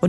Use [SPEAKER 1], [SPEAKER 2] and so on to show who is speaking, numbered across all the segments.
[SPEAKER 1] och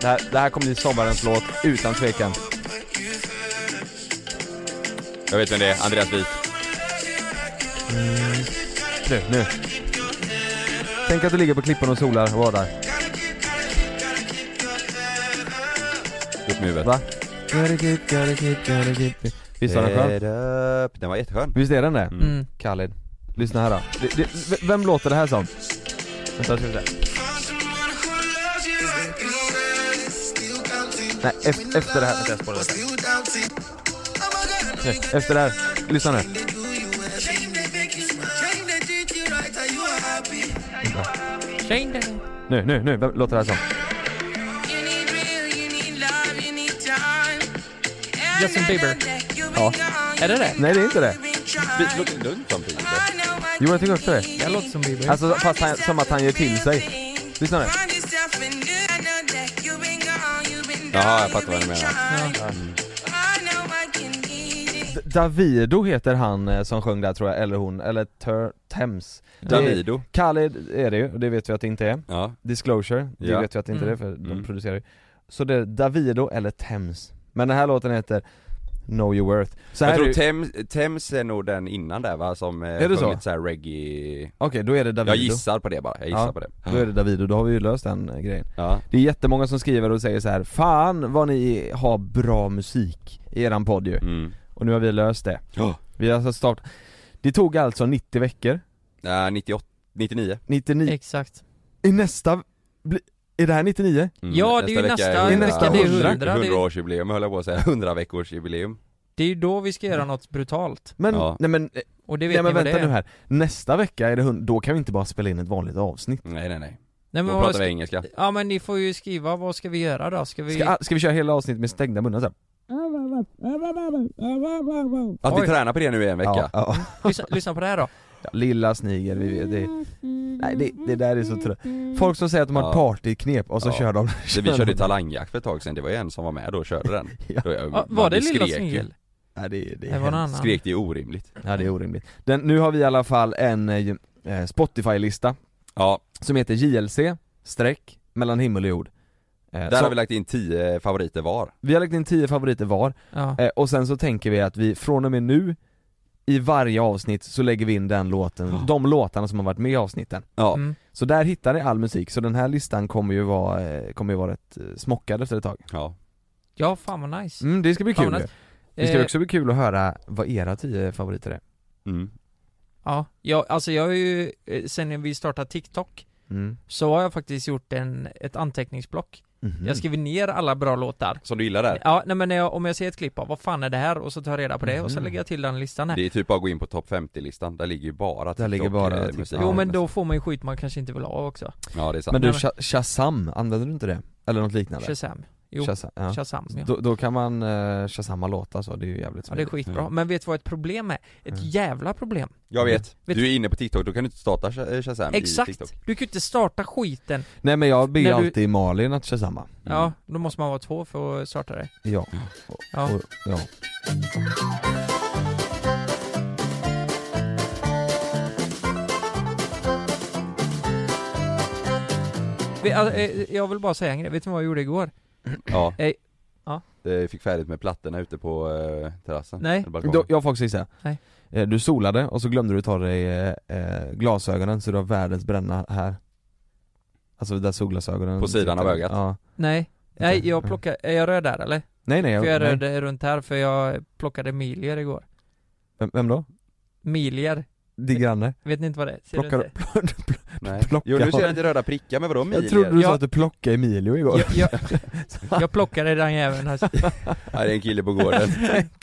[SPEAKER 2] Det här, det här kommer bli sommarens låt, utan tvekan. Jag vet vem det är, Andreas Wijk. Nu, nu. Tänk att du ligger på klippan och solar och vadar.
[SPEAKER 3] Upp med huvudet.
[SPEAKER 2] Va? Gotta keep, gotta keep, gotta keep. Visst var den skön?
[SPEAKER 3] Head up. Den var jätteskön.
[SPEAKER 2] Visst är den det?
[SPEAKER 4] Mm.
[SPEAKER 2] Khaled. Lyssna här då. Det, det, v- vem låter det här som? Vänta, ska vi se. Nej, efter, efter det här. Vänta, jag spårar lite. Nej, Efter det här. Lyssna nu. Nu, nu, nu. Vem låter det här som?
[SPEAKER 4] Justin Bieber.
[SPEAKER 2] Ja.
[SPEAKER 4] Är det det?
[SPEAKER 2] Nej, det är inte det.
[SPEAKER 3] Det låter lugnt samtidigt.
[SPEAKER 2] Jo, jag tycker också det.
[SPEAKER 4] Jag låter som Bieber.
[SPEAKER 2] Alltså, fast han, som att han gör till sig. Lyssna nu.
[SPEAKER 3] Jaha, jag fattar vad du menar.
[SPEAKER 2] D- Davido heter han eh, som sjöng där tror jag, eller hon, eller Ter- Thames. Det är-
[SPEAKER 3] Davido.
[SPEAKER 2] Khalid är det ju, och det vet vi att det inte är.
[SPEAKER 3] Ja.
[SPEAKER 2] Disclosure, det
[SPEAKER 3] Ja.
[SPEAKER 2] vet vi att det inte är för de
[SPEAKER 3] Mm.
[SPEAKER 2] producerar ju Så det är Davido eller Thames Men den här låten heter Know Your Worth så
[SPEAKER 3] Jag
[SPEAKER 2] här är
[SPEAKER 3] tror
[SPEAKER 2] ju- Okej,
[SPEAKER 3] Thames, Thams är nog den innan där va, som eh,
[SPEAKER 2] Är det så?
[SPEAKER 3] sjöng lite så här reggae
[SPEAKER 2] då är det Davido
[SPEAKER 3] Jag gissar på det bara, jag gissar
[SPEAKER 2] Ja,
[SPEAKER 3] på det
[SPEAKER 2] Då är det Davido, då har vi ju löst den eh, grejen
[SPEAKER 3] Ja,
[SPEAKER 2] Det är jättemånga som skriver och säger så här: Fan vad ni har bra musik i eran podd ju
[SPEAKER 3] mm.
[SPEAKER 2] Och nu har vi löst det
[SPEAKER 3] Ja.
[SPEAKER 2] Vi har alltså startat Det tog alltså 90 veckor,
[SPEAKER 3] Äh, 98, 99
[SPEAKER 2] 99,
[SPEAKER 4] Exakt.
[SPEAKER 2] i nästa, bli, är det här 99?
[SPEAKER 3] Mm,
[SPEAKER 4] Ja, det är ju nästa-
[SPEAKER 3] är
[SPEAKER 2] nästa
[SPEAKER 3] hundra-
[SPEAKER 2] vecka, det är
[SPEAKER 4] hundra, det är-
[SPEAKER 3] 100-årsjubileum höll jag på att säga, 100-veckorsjubileum
[SPEAKER 4] Det är ju då vi ska göra något brutalt.
[SPEAKER 2] Men,
[SPEAKER 3] Ja.
[SPEAKER 2] nej men, eh,
[SPEAKER 4] Och det vet
[SPEAKER 2] Mm. nej,
[SPEAKER 4] ni
[SPEAKER 2] men
[SPEAKER 4] vad
[SPEAKER 2] vänta
[SPEAKER 4] det är.
[SPEAKER 2] nu här, nästa vecka är det hund- då kan vi inte bara spela in ett vanligt avsnitt
[SPEAKER 3] Nej nej nej,
[SPEAKER 4] Nej,
[SPEAKER 3] då
[SPEAKER 4] men
[SPEAKER 3] pratar
[SPEAKER 4] vad ska...
[SPEAKER 3] vi engelska
[SPEAKER 4] Ja men ni får ju skriva, vad ska vi göra då? Ska vi...
[SPEAKER 2] Ska, ska vi köra hela avsnittet med stängda munnar sen?
[SPEAKER 3] Att vi
[SPEAKER 4] Oj.
[SPEAKER 3] tränar på det nu i en vecka?
[SPEAKER 2] Ja,
[SPEAKER 4] lyssna, lyssna på det här då.
[SPEAKER 2] ja. Lilla snigel, vi vet det Nej det, det där är så trött Folk som säger att de har
[SPEAKER 3] Ja.
[SPEAKER 2] partyknep och så
[SPEAKER 3] Ja.
[SPEAKER 2] kör de
[SPEAKER 3] Det,
[SPEAKER 2] kör
[SPEAKER 3] vi körde
[SPEAKER 2] de-
[SPEAKER 3] ju talangjakt för ett tag sedan, det var ju en som var med då och körde den
[SPEAKER 2] Ja.
[SPEAKER 3] då, jag-
[SPEAKER 4] Ja,
[SPEAKER 3] man-
[SPEAKER 4] var det
[SPEAKER 3] vi
[SPEAKER 4] Lilla
[SPEAKER 3] skrek ju.
[SPEAKER 4] Snigel?
[SPEAKER 2] Nej det, det
[SPEAKER 4] Det
[SPEAKER 2] är
[SPEAKER 4] var någon
[SPEAKER 2] hemskt.
[SPEAKER 4] annan.
[SPEAKER 3] Skrek det är orimligt
[SPEAKER 2] Ja det är orimligt Den, Nu har vi i alla fall en eh, eh, Spotify-lista
[SPEAKER 3] Ja,
[SPEAKER 2] som heter JLC, streck, mellan himmel och jord Eh,
[SPEAKER 3] där
[SPEAKER 2] så
[SPEAKER 3] har vi lagt in 10 favoriter var
[SPEAKER 2] vi har lagt in 10 favoriter var
[SPEAKER 4] Ja.
[SPEAKER 2] Eh, och sen så tänker vi att vi från och med nu i varje avsnitt så lägger vi in den låten, de låtarna som har varit med i avsnitten.
[SPEAKER 3] Ja,
[SPEAKER 4] Mm.
[SPEAKER 2] Så där hittar ni all musik, så den här listan kommer ju vara, eh, kommer ju vara rätt eh, smockad efter ett tag.
[SPEAKER 3] ja,
[SPEAKER 4] Ja, fan vad nice.
[SPEAKER 2] Mm, det ska bli
[SPEAKER 4] Fan,
[SPEAKER 2] kul
[SPEAKER 4] vad
[SPEAKER 2] ju.
[SPEAKER 4] nice.
[SPEAKER 2] Det ska
[SPEAKER 4] Eh,
[SPEAKER 2] också bli kul att höra vad era tio favoriter är.
[SPEAKER 3] mm.
[SPEAKER 4] Ja, jag, alltså jag har ju, eh, sen vi startade TikTok
[SPEAKER 2] Mm.
[SPEAKER 4] så har jag faktiskt gjort en, ett anteckningsblock.
[SPEAKER 2] Mhm.
[SPEAKER 4] Jag skriver ner alla bra låtar.
[SPEAKER 3] Som du gillar där?
[SPEAKER 4] Ja, nej men när jag, om jag ser ett klipp av vad fan är det här? Och så tar jag reda på det och så
[SPEAKER 2] Mhm.
[SPEAKER 4] lägger jag till den listan här.
[SPEAKER 3] Det är typ bara att gå in på topp 50-listan, där ligger ju bara
[SPEAKER 2] Där ligger
[SPEAKER 3] TikTok,
[SPEAKER 2] bara
[SPEAKER 3] eh,
[SPEAKER 2] TikTok.
[SPEAKER 3] musik.
[SPEAKER 4] Jo men då får man ju skit man kanske inte vill ha också.
[SPEAKER 3] Ja det är sant
[SPEAKER 2] Men du,
[SPEAKER 4] Nej,
[SPEAKER 2] Sha- Shazam, använder du inte det? Eller något liknande?
[SPEAKER 4] Shazam. Jo,
[SPEAKER 2] Shazam, ja.
[SPEAKER 4] Shazam ja.
[SPEAKER 2] Då, då kan man uh, shazamma låtar så, det är ju jävligt
[SPEAKER 4] ja. det är
[SPEAKER 2] smidigt.
[SPEAKER 4] skitbra. Men vet du vad ett problem är? Ett
[SPEAKER 2] Mm.
[SPEAKER 4] jävla problem.
[SPEAKER 3] Jag vet,
[SPEAKER 4] Mm. Vet-
[SPEAKER 3] du är inne på TikTok, då kan du inte starta Sha- eh, Shazam i
[SPEAKER 4] Exakt!
[SPEAKER 3] TikTok
[SPEAKER 4] Du kan ju inte starta skiten.
[SPEAKER 2] Nej men jag ber
[SPEAKER 4] När du-
[SPEAKER 2] alltid Malin att shazamma.
[SPEAKER 4] Ja, då måste man vara två för att starta det.
[SPEAKER 2] Ja.
[SPEAKER 3] Mm.
[SPEAKER 4] Ja.
[SPEAKER 2] Och, ja.
[SPEAKER 4] Vi, äh, eh, jag vill bara säga en grej, vet du vad jag gjorde igår?
[SPEAKER 3] Ja,
[SPEAKER 4] Ej. Ja.
[SPEAKER 3] Eh, Fick färdigt med plattorna ute på eh, terrassen
[SPEAKER 4] Nej.
[SPEAKER 3] eller balkongen.
[SPEAKER 2] Då, jag får också säga.
[SPEAKER 4] Nej.
[SPEAKER 2] Eh, Du solade och så glömde du ta dig eh, eh, glasögonen så du har världens bränna här Alltså där solglasögonen
[SPEAKER 3] På sidan av
[SPEAKER 2] sitter.
[SPEAKER 3] ögat?
[SPEAKER 2] Ja.
[SPEAKER 4] Nej, nej jag plockar, är jag röd där eller?
[SPEAKER 2] Nej nej, jag,
[SPEAKER 4] För jag är
[SPEAKER 2] nej.
[SPEAKER 4] röd runt här för jag plockade milier igår
[SPEAKER 2] Vem, vem då?
[SPEAKER 4] Milier,
[SPEAKER 2] Din granne?
[SPEAKER 4] vet ni inte vad det är? Ser
[SPEAKER 2] Plockar,
[SPEAKER 4] du inte?
[SPEAKER 2] pl-
[SPEAKER 3] Nej.
[SPEAKER 2] Plocka.
[SPEAKER 3] Jo nu ser jag inte röda prickar, men vadå
[SPEAKER 2] jag
[SPEAKER 3] milier?
[SPEAKER 2] trodde du
[SPEAKER 4] Ja.
[SPEAKER 2] sa att du plockade Emilio igår.
[SPEAKER 4] Jag, jag, jag plockade den jäveln här
[SPEAKER 3] Ja, det är en kille på gården.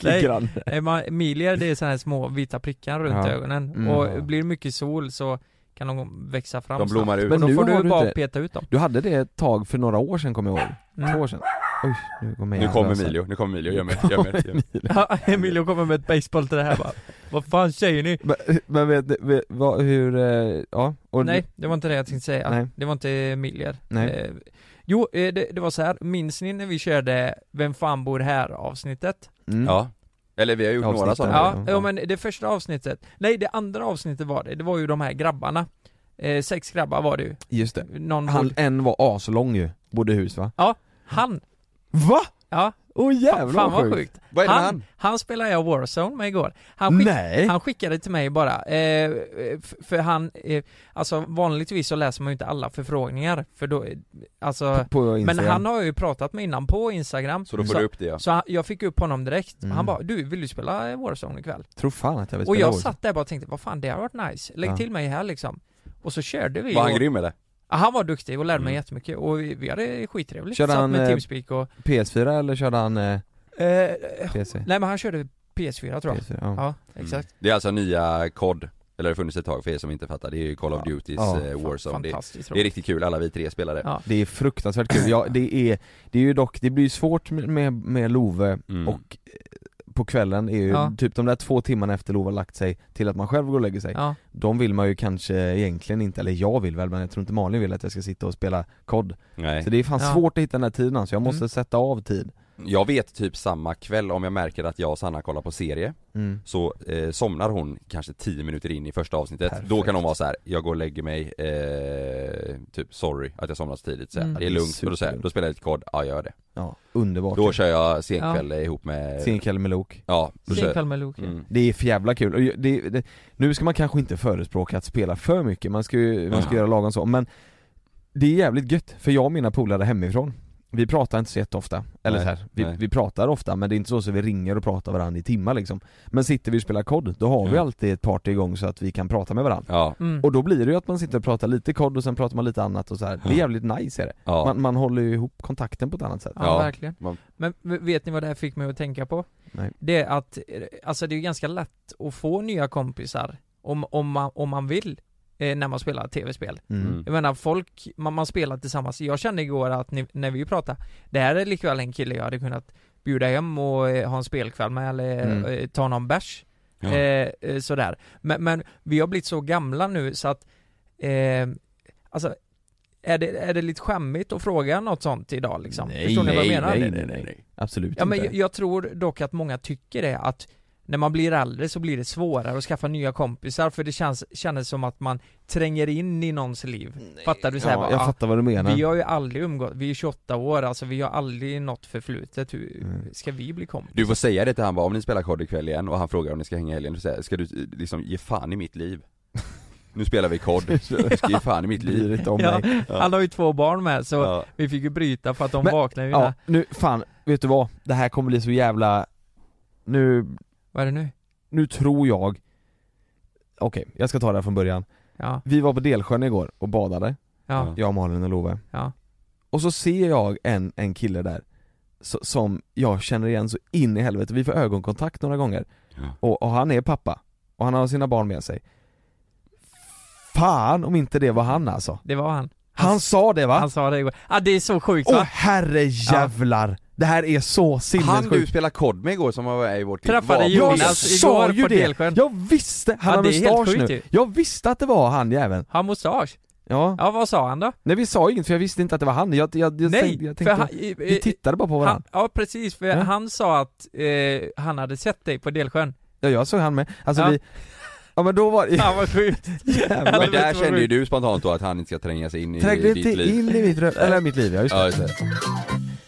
[SPEAKER 4] nej.
[SPEAKER 2] Granne.
[SPEAKER 4] Nej, man- Milier det är sådana här små vita prickar runt
[SPEAKER 2] Ja.
[SPEAKER 4] ögonen
[SPEAKER 2] Mm.
[SPEAKER 4] och blir det mycket sol så kan de växa fram
[SPEAKER 3] De blommar
[SPEAKER 4] snabbt.
[SPEAKER 3] ut.
[SPEAKER 4] Men då
[SPEAKER 2] Men nu
[SPEAKER 4] får
[SPEAKER 2] har
[SPEAKER 4] du
[SPEAKER 2] du
[SPEAKER 4] bara
[SPEAKER 2] inte-
[SPEAKER 4] peta ut dem
[SPEAKER 2] Du hade det ett tag för några år sedan kommer jag ihåg. Två
[SPEAKER 4] mm.
[SPEAKER 2] år sedan. Oj, nu kommer jag
[SPEAKER 3] Nu kommer
[SPEAKER 2] lösa.
[SPEAKER 3] Emilio, nu kommer Emilio, göm er, göm er, göm er.
[SPEAKER 4] Ja, Emilio kommer med ett baseball till det här bara Vad fan säger ni?
[SPEAKER 2] Men, men vet ni, vet, vad, hur, eh, ja? Och
[SPEAKER 4] Nej, det var inte det jag tänkte säga.
[SPEAKER 2] Nej.
[SPEAKER 4] Det var inte Miljer.
[SPEAKER 2] Nej.
[SPEAKER 4] Eh, jo, eh, det, det var så här. minns ni när vi körde Vem fan bor här avsnittet?
[SPEAKER 2] Mm.
[SPEAKER 3] Ja. Eller vi har gjort några
[SPEAKER 2] Avsnitten.
[SPEAKER 3] sådana.
[SPEAKER 4] Ja,
[SPEAKER 2] ja.
[SPEAKER 4] ja, men det första avsnittet, nej det andra avsnittet var det, det var ju de här grabbarna. Eh, sex grabbar var det ju.
[SPEAKER 2] Just det.
[SPEAKER 4] Någon
[SPEAKER 2] Han,
[SPEAKER 4] bodde-
[SPEAKER 2] en var aslång ju, bodde i hus va?
[SPEAKER 4] han,
[SPEAKER 2] Va?
[SPEAKER 4] ja,
[SPEAKER 2] Åh oh,
[SPEAKER 4] fan,
[SPEAKER 2] jävlar
[SPEAKER 4] fan vad sjukt.
[SPEAKER 3] Vad är det med
[SPEAKER 4] Han,
[SPEAKER 3] han?
[SPEAKER 4] han spelade jag Warzone med igår. Han skickade
[SPEAKER 2] Nej!
[SPEAKER 4] Han skickade till mig bara, eh, f- för han, eh, alltså vanligtvis så läser man ju inte alla förfrågningar, för då, eh, alltså
[SPEAKER 2] på
[SPEAKER 4] Men
[SPEAKER 2] Instagram.
[SPEAKER 4] han har jag ju pratat med innan på Instagram
[SPEAKER 3] Så då får
[SPEAKER 4] så,
[SPEAKER 3] du upp det ja.
[SPEAKER 4] så han, jag fick upp honom direkt,
[SPEAKER 2] Mm.
[SPEAKER 4] han bara 'Du, vill du spela eh, Warzone ikväll?'
[SPEAKER 2] Tror fan att jag vill
[SPEAKER 4] Och
[SPEAKER 2] spela
[SPEAKER 4] jag
[SPEAKER 2] Warzone.
[SPEAKER 4] satt där bara och tänkte 'Vad fan, det har varit nice, lägg
[SPEAKER 2] Ja.
[SPEAKER 4] till mig här liksom' Och så körde vi
[SPEAKER 3] Var han
[SPEAKER 4] och,
[SPEAKER 3] grym eller?
[SPEAKER 4] ja, han var duktig och lärde mig
[SPEAKER 3] Mm.
[SPEAKER 4] jättemycket och vi, vi hade skittrevligt,
[SPEAKER 2] Körde
[SPEAKER 4] satt
[SPEAKER 2] han,
[SPEAKER 4] med
[SPEAKER 2] eh,
[SPEAKER 4] Teamspeak och
[SPEAKER 2] PS4 eller körde han eh,
[SPEAKER 4] eh,
[SPEAKER 2] PC?
[SPEAKER 4] Nej men han körde PS4 tror jag,
[SPEAKER 2] PS4, ja.
[SPEAKER 4] ja exakt
[SPEAKER 3] Det är alltså nya kod, eller det har funnits ett tag för er som inte fattar, det är ju Call of
[SPEAKER 2] Ja.
[SPEAKER 3] Duties
[SPEAKER 2] Ja.
[SPEAKER 3] eh, Warzone. Det,
[SPEAKER 4] Fantastiskt
[SPEAKER 3] det är
[SPEAKER 4] roligt.
[SPEAKER 3] riktigt kul, alla vi tre spelar det.
[SPEAKER 4] Ja.
[SPEAKER 2] Det är fruktansvärt kul, ja, det är, det är ju dock, det blir ju svårt med, med Love
[SPEAKER 3] Mm.
[SPEAKER 2] och eh, på kvällen är ju
[SPEAKER 4] Ja.
[SPEAKER 2] typ de där två timmarna efter Love har lagt sig till att man själv går och lägger sig
[SPEAKER 4] Ja,
[SPEAKER 2] De vill man ju kanske egentligen inte, eller jag vill väl men jag tror inte Malin vill att jag ska sitta och spela kod
[SPEAKER 3] Nej.
[SPEAKER 2] Så det är fan
[SPEAKER 4] Ja.
[SPEAKER 2] svårt att hitta den här tiden alltså, jag måste
[SPEAKER 4] Mm.
[SPEAKER 2] sätta av tid
[SPEAKER 3] Jag vet typ samma kväll om jag märker att jag och Sanna kollar på serie,
[SPEAKER 2] mm.
[SPEAKER 3] så eh, somnar hon kanske 10 minuter in i första avsnittet.
[SPEAKER 2] Perfekt.
[SPEAKER 3] Då kan hon vara så här: jag går och lägger mig, eh, typ sorry att jag somnade så tidigt, så här,
[SPEAKER 4] Mm.
[SPEAKER 3] det är lugnt. Och då, säger jag, då spelar jag lite kod, ja jag gör det.
[SPEAKER 2] Ja, underbart
[SPEAKER 3] Då kör jag senkväll ihop med
[SPEAKER 2] Sen kväll med Lok
[SPEAKER 3] Ja, då
[SPEAKER 4] Sen
[SPEAKER 3] kör
[SPEAKER 4] kväll med Loke.
[SPEAKER 3] mm.
[SPEAKER 2] Det är för jävla kul, Och det, det, nu ska man kanske inte förespråka att spela för mycket, man ska ju, man ska
[SPEAKER 3] Ja.
[SPEAKER 2] göra lagom så, men Det är jävligt gött, för jag och mina polare hemifrån Vi pratar inte så jätteofta, eller
[SPEAKER 3] Nej,
[SPEAKER 2] så här, vi,
[SPEAKER 3] nej.
[SPEAKER 2] vi pratar ofta men det är inte så att vi ringer och pratar varandra i timmar liksom Men sitter vi och spelar kod, då har vi
[SPEAKER 3] Ja.
[SPEAKER 2] alltid ett party igång så att vi kan prata med varandra
[SPEAKER 3] Ja,
[SPEAKER 4] Mm.
[SPEAKER 2] Och då blir det ju att man sitter och pratar lite kod och sen pratar man lite annat och så här. det är
[SPEAKER 3] Ja.
[SPEAKER 2] jävligt nice är det
[SPEAKER 3] ja.
[SPEAKER 2] man, man håller ju ihop kontakten på ett annat sätt
[SPEAKER 4] Ja,
[SPEAKER 3] Ja.
[SPEAKER 4] verkligen.
[SPEAKER 3] Man-
[SPEAKER 4] Men v- vet ni vad det här fick mig att tänka på?
[SPEAKER 2] Nej.
[SPEAKER 4] Det är att, eh, alltså det är ju ganska lätt att få nya kompisar om, om, man, om man vill eh, när man spelar tv-spel.
[SPEAKER 2] mm.
[SPEAKER 3] Mm.
[SPEAKER 4] Jag menar folk, man, man spelar tillsammans. Jag kände igår att ni, när vi pratade, det här är likväl en kille jag hade kunnat bjuda hem och eh, ha en spelkväll med eller
[SPEAKER 2] Mm.
[SPEAKER 4] eh, ta någon bärs.
[SPEAKER 3] Ja.
[SPEAKER 4] Eh, eh, sådär. Men, men vi har blivit så gamla nu så att, eh, alltså är det, är det lite skämmigt att fråga något sånt idag liksom?
[SPEAKER 2] Nej,
[SPEAKER 4] Förstår ni vad jag
[SPEAKER 2] nej,
[SPEAKER 4] menar?
[SPEAKER 2] nej, nej, nej, nej. Absolut
[SPEAKER 4] Ja men
[SPEAKER 2] inte
[SPEAKER 4] jag, jag tror dock att många tycker det att när man blir äldre så blir det svårare att skaffa nya kompisar för det känns, känns som att man tränger in i någons liv. Fattar du? Så här,
[SPEAKER 2] ja,
[SPEAKER 4] bara,
[SPEAKER 2] Jag
[SPEAKER 4] "Ah,
[SPEAKER 2] fattar vad du menar
[SPEAKER 4] Vi har ju aldrig umgått, vi är 28 år alltså, vi har aldrig något förflutet. Hur
[SPEAKER 2] Mm.
[SPEAKER 4] ska vi bli kompisar?
[SPEAKER 3] Du får säga det till han bara, om ni spelar kod ikväll igen och han frågar om ni ska hänga i helgen, så säger jag, ska du eh, liksom ge fan i mitt liv? Nu spelar vi kod, du ska ge fan i mitt liv
[SPEAKER 2] Livet om
[SPEAKER 4] Ja,
[SPEAKER 2] mig
[SPEAKER 4] Han har ju två barn med så
[SPEAKER 3] ja.
[SPEAKER 4] vi fick ju bryta för att de
[SPEAKER 2] Men-
[SPEAKER 4] vaknade ju
[SPEAKER 2] Ja,
[SPEAKER 4] när-
[SPEAKER 2] nu, fan, vet du vad? Det här kommer bli så jävla... Nu,
[SPEAKER 4] Vad är det nu?
[SPEAKER 2] nu tror jag... Okej, jag ska ta det här från början.
[SPEAKER 4] Ja,
[SPEAKER 2] Vi var på Delsjön igår och badade,
[SPEAKER 4] ja,
[SPEAKER 2] jag, Malin och Love.
[SPEAKER 4] Ja.
[SPEAKER 2] Och så ser jag en, en kille där, so- som jag känner igen så in i helvete. Vi får ögonkontakt några gånger.
[SPEAKER 3] Ja.
[SPEAKER 2] Och, och han är pappa. Och han har sina barn med sig. Fan om inte det var han alltså.
[SPEAKER 4] det var han.
[SPEAKER 2] Han,
[SPEAKER 4] Han-
[SPEAKER 2] sa det va?
[SPEAKER 4] Han sa det igår. Ah det är så sjukt
[SPEAKER 2] Åh
[SPEAKER 4] va?
[SPEAKER 2] herrejävlar! Det här är så
[SPEAKER 3] Han
[SPEAKER 2] sinnessjukt!
[SPEAKER 3] du spelade kod med igår som var med i vårt
[SPEAKER 4] Träffade
[SPEAKER 3] var-
[SPEAKER 4] Jonas
[SPEAKER 2] jag
[SPEAKER 4] alltså, igår
[SPEAKER 2] sa ju
[SPEAKER 4] på
[SPEAKER 2] det!
[SPEAKER 4] Delsjön.
[SPEAKER 2] Jag visste! Han
[SPEAKER 4] Ja,
[SPEAKER 2] har
[SPEAKER 4] det är helt
[SPEAKER 2] mustasch
[SPEAKER 4] sjukt
[SPEAKER 2] nu.
[SPEAKER 4] ju.
[SPEAKER 2] Jag visste att det var han jäveln.
[SPEAKER 4] Har mustasch?
[SPEAKER 2] Ja.
[SPEAKER 4] Ja vad sa han då?
[SPEAKER 2] Nej vi sa inget för jag visste inte att det var han. Jag, jag, jag,
[SPEAKER 4] Nej!
[SPEAKER 2] tänkte, jag
[SPEAKER 4] för
[SPEAKER 2] tänkte,
[SPEAKER 4] han- i-
[SPEAKER 2] vi
[SPEAKER 4] i-
[SPEAKER 2] tittade bara på
[SPEAKER 4] Han,
[SPEAKER 2] varandra.
[SPEAKER 4] ja precis, för
[SPEAKER 2] Ja.
[SPEAKER 4] han sa att eh, han hade sett dig på Delsjön.
[SPEAKER 2] Ja jag såg han med. Alltså
[SPEAKER 4] Ja.
[SPEAKER 2] vi... Ja men då var det...
[SPEAKER 4] Fan vad sjukt!
[SPEAKER 2] Jävlar.
[SPEAKER 3] Men där
[SPEAKER 4] Helvete, vad
[SPEAKER 3] kände ju
[SPEAKER 4] sjukt.
[SPEAKER 3] du spontant då att han inte ska tränga sig in i
[SPEAKER 2] Trängde
[SPEAKER 3] ditt
[SPEAKER 2] inte
[SPEAKER 3] liv
[SPEAKER 2] in i mitt röv, eller mitt liv ja, just
[SPEAKER 3] Ja,
[SPEAKER 2] det.
[SPEAKER 3] just det.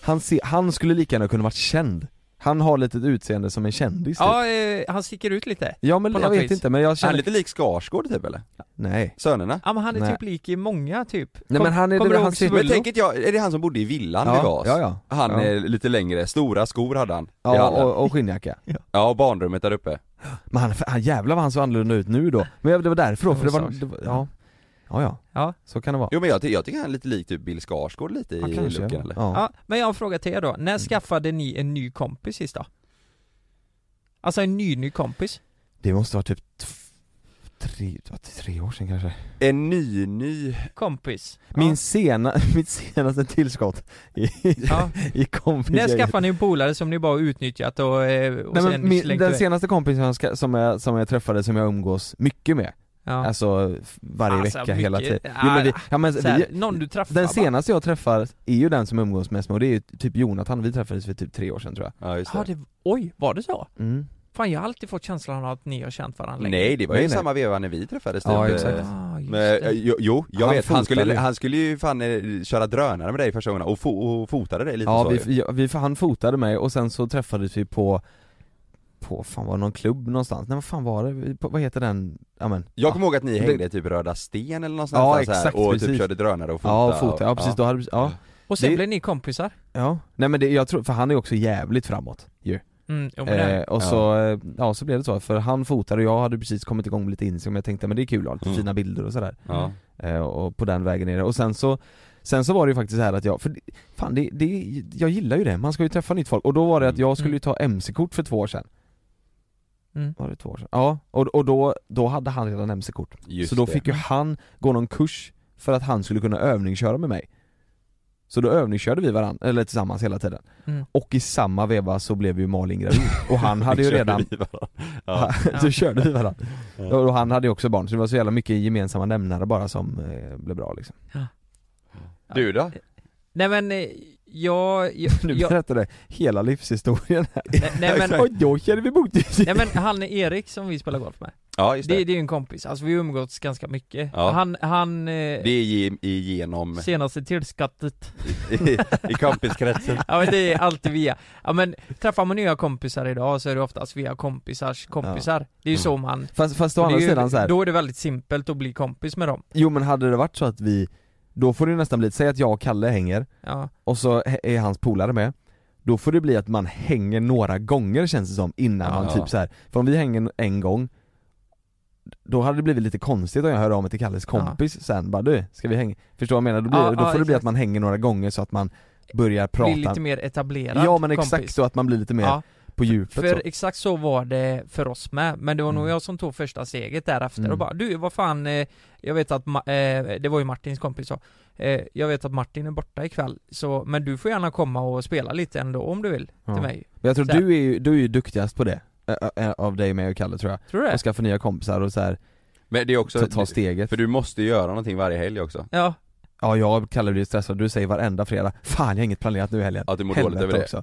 [SPEAKER 2] Han, se, han skulle lika gärna kunna varit känd. Han har lite ett utseende som en kändis typ.
[SPEAKER 4] Ja, eh, han sticker ut lite.
[SPEAKER 2] Ja men
[SPEAKER 4] på
[SPEAKER 2] jag
[SPEAKER 4] något
[SPEAKER 2] vet
[SPEAKER 4] vis.
[SPEAKER 2] inte men jag
[SPEAKER 3] Är han
[SPEAKER 2] känner
[SPEAKER 3] lite lik Skarsgård typ eller?
[SPEAKER 2] Nej
[SPEAKER 3] Sönerna?
[SPEAKER 4] Ja men han är
[SPEAKER 2] Nej.
[SPEAKER 4] typ lik i många typ.
[SPEAKER 2] Nej, men han är-
[SPEAKER 4] kommer
[SPEAKER 2] det-
[SPEAKER 4] du
[SPEAKER 2] han
[SPEAKER 4] ihåg
[SPEAKER 2] ser-
[SPEAKER 4] Svullo?
[SPEAKER 3] Men tänk att jag, är det han som bodde i villan vid
[SPEAKER 2] ja,
[SPEAKER 3] oss?
[SPEAKER 2] ja, ja.
[SPEAKER 3] Han
[SPEAKER 2] ja.
[SPEAKER 3] är lite längre, stora skor hade han i
[SPEAKER 2] Ja
[SPEAKER 3] hallen.
[SPEAKER 2] och, och skinnjacka.
[SPEAKER 3] Ja och barnrummet där uppe
[SPEAKER 2] Men han, han jävlar vad han såg annorlunda ut nu då. Men jag- det var därför då,
[SPEAKER 4] Det
[SPEAKER 2] för det
[SPEAKER 4] var
[SPEAKER 2] var,
[SPEAKER 4] sak.
[SPEAKER 2] det var ja. ja ja,
[SPEAKER 4] Ja.
[SPEAKER 2] så kan det vara.
[SPEAKER 3] Jo men jag, ty- jag tycker han är lite lik typ Bill Skarsgård lite
[SPEAKER 2] Ja,
[SPEAKER 3] i
[SPEAKER 2] kanske.
[SPEAKER 3] looken eller?
[SPEAKER 2] Ja. Mm.
[SPEAKER 4] Ja, men jag har en fråga till er då. När skaffade ni en ny kompis sist då? Alltså en ny ny kompis?
[SPEAKER 2] Det måste vara typ tf- tre, ja, tre år sedan kanske.
[SPEAKER 3] En ny, ny,
[SPEAKER 4] Kompis? Ja.
[SPEAKER 2] Min sena, mitt senaste tillskott i,
[SPEAKER 4] Ja.
[SPEAKER 2] i kompis
[SPEAKER 4] När skaffade ni en polare som ni bara utnyttjat och, eh, och
[SPEAKER 2] Nej,
[SPEAKER 4] sen
[SPEAKER 2] men min,
[SPEAKER 4] slängt
[SPEAKER 2] den
[SPEAKER 4] iväg?
[SPEAKER 2] senaste kompisen jag ska- som jag, som jag träffade som jag umgås mycket med,
[SPEAKER 4] ja.
[SPEAKER 2] alltså f- varje
[SPEAKER 4] Alltså,
[SPEAKER 2] vecka hela tiden
[SPEAKER 4] mycket-
[SPEAKER 2] jo, men vi, ja, men,
[SPEAKER 4] Så här,
[SPEAKER 2] vi,
[SPEAKER 4] någon du träffar
[SPEAKER 2] Den
[SPEAKER 4] va?
[SPEAKER 2] senaste jag träffar är ju den som jag umgås mest med och det är ju typ Jonathan, vi träffades för typ tre år sedan tror jag
[SPEAKER 3] ja just det.
[SPEAKER 4] Ja, det, oj, var det så?
[SPEAKER 2] mm.
[SPEAKER 4] Fan jag har alltid fått känslan av att ni har känt varandra länge.
[SPEAKER 3] Nej det var ju
[SPEAKER 2] Nej, nej.
[SPEAKER 3] samma veva när vi träffades
[SPEAKER 2] Ja,
[SPEAKER 3] typ.
[SPEAKER 2] exakt.
[SPEAKER 4] Ah, just
[SPEAKER 3] Men, eh,
[SPEAKER 4] det.
[SPEAKER 3] jo, jo, jag
[SPEAKER 2] Han
[SPEAKER 3] vet, han skulle,
[SPEAKER 2] fotade.
[SPEAKER 3] han skulle ju fan eh, köra drönare med dig första gången och, fo- och fotade dig lite
[SPEAKER 2] Ja,
[SPEAKER 3] så ju.
[SPEAKER 2] vi, ja, vi, han fotade mig och sen så träffades vi på på, fan var det någon klubb någonstans? Nej vad fan var det? Vi- På, vad heter den? Ja men
[SPEAKER 3] Jag kommer ihåg att ni
[SPEAKER 2] Det-
[SPEAKER 3] hängde typ Röda Sten eller någonstans
[SPEAKER 2] Ja,
[SPEAKER 3] där så här,
[SPEAKER 2] exakt,
[SPEAKER 3] och typ
[SPEAKER 2] precis.
[SPEAKER 3] körde drönare och fotade
[SPEAKER 2] Ja, och fotade, ja precis, då hade vi, ja
[SPEAKER 4] Och sen
[SPEAKER 2] det-
[SPEAKER 4] blev ni kompisar?
[SPEAKER 2] Ja, nej men det, jag tror, för han är också jävligt framåt ju
[SPEAKER 4] Mm, jo, men det-
[SPEAKER 2] eh, Och så, eh, ja så blev det så, för han fotade och jag hade precis kommit igång med lite Instagram, jag tänkte men det är kul att ha lite
[SPEAKER 3] Mm.
[SPEAKER 2] fina bilder och sådär
[SPEAKER 3] ja.
[SPEAKER 2] eh, och på den vägen är det. Och sen så, sen så var det ju faktiskt så här att jag, för det- fan det, det, jag gillar ju det, man ska ju träffa nytt folk. Och då var det att
[SPEAKER 3] Mm.
[SPEAKER 2] jag skulle ju ta mc-kort för två år sedan.
[SPEAKER 4] Mm.
[SPEAKER 2] Var det två år sedan? Ja, och, och då, då hade han redan mc-kort.
[SPEAKER 3] Just
[SPEAKER 2] så då
[SPEAKER 3] det.
[SPEAKER 2] fick ju han gå någon kurs för att han skulle kunna övningsköra med mig. Så då övningskörde vi varandra, eller tillsammans hela tiden.
[SPEAKER 4] Mm.
[SPEAKER 2] Och i samma veva så blev ju Malin gravid. Och han hade ju
[SPEAKER 3] Körde
[SPEAKER 2] redan,
[SPEAKER 3] vi varandra. Ja.
[SPEAKER 2] så körde vi varandra. Och han hade ju också barn, så det var så jävla mycket gemensamma nämnare bara som eh, blev bra liksom.
[SPEAKER 3] Du då?
[SPEAKER 4] Nej men, eh, jag... jag,
[SPEAKER 2] Nu
[SPEAKER 4] jag
[SPEAKER 2] berättar du hela livshistorien här.
[SPEAKER 4] nej, nej, men,
[SPEAKER 2] Och då känner vi mot
[SPEAKER 4] nej men han är Erik som vi spelar golf med.
[SPEAKER 3] Ja just det,
[SPEAKER 4] Det, det är ju en kompis, alltså vi har umgåtts ganska mycket.
[SPEAKER 3] Ja.
[SPEAKER 4] Han, han... eh,
[SPEAKER 3] det är ge- igenom
[SPEAKER 4] Senaste tillskottet.
[SPEAKER 3] i, i kompiskretsen
[SPEAKER 4] Ja men det är alltid via. Ja men träffar man nya kompisar idag så är det oftast via kompisars kompisar. Det är ju så man...
[SPEAKER 2] Fast, fast å
[SPEAKER 4] Och det är
[SPEAKER 2] Mm. andra sidan
[SPEAKER 4] ju-
[SPEAKER 2] så här.
[SPEAKER 4] Då är det väldigt simpelt att bli kompis med dem.
[SPEAKER 2] jo men hade det varit så att vi, då får det ju nästan bli, säg att jag och Kalle hänger
[SPEAKER 4] Ja.
[SPEAKER 2] och så he- är hans polare med då får det bli att man hänger några gånger känns det som innan
[SPEAKER 3] Ja.
[SPEAKER 2] man typ så här. för om vi hänger en gång Då hade det blivit lite konstigt om jag hör av mig till Kalles kompis sen bara du, ska vi hänga? Förstår vad jag menar? Då, blir,
[SPEAKER 4] Ja,
[SPEAKER 2] då får
[SPEAKER 4] ja,
[SPEAKER 2] det bli
[SPEAKER 4] exakt.
[SPEAKER 2] att man hänger några gånger så att man börjar
[SPEAKER 4] Bli
[SPEAKER 2] prata
[SPEAKER 4] lite mer etablerad
[SPEAKER 2] Ja men exakt
[SPEAKER 4] kompis.
[SPEAKER 2] så att man blir lite mer
[SPEAKER 4] Ja,
[SPEAKER 2] på djupet
[SPEAKER 4] för
[SPEAKER 2] så.
[SPEAKER 4] exakt så var det för oss med, men det var nog
[SPEAKER 2] Mm.
[SPEAKER 4] jag som tog första steget därefter
[SPEAKER 2] Mm.
[SPEAKER 4] och bara du vad fan, eh, jag vet att, Ma- eh, det var ju Martins kompis då, eh, jag vet att Martin är borta ikväll, så, men du får gärna komma och spela lite ändå om du vill,
[SPEAKER 2] Ja.
[SPEAKER 4] till mig.
[SPEAKER 2] Men jag tror
[SPEAKER 4] Så här.
[SPEAKER 2] du är ju, du är ju duktigast på det, Ä- ä- ä- av dig med och Kalle tror jag.
[SPEAKER 4] Tror du det?
[SPEAKER 2] Att skaffa nya kompisar och så här,
[SPEAKER 3] Men det är också,
[SPEAKER 2] ta, ta steget.
[SPEAKER 3] för du måste ju göra någonting varje helg också
[SPEAKER 4] Ja,
[SPEAKER 2] Ja jag och Kalle blir stressad, du säger varenda fredag 'Fan jag har inget planerat nu i helgen'
[SPEAKER 3] Att du mår dåligt
[SPEAKER 2] Helvete
[SPEAKER 3] över det
[SPEAKER 2] också.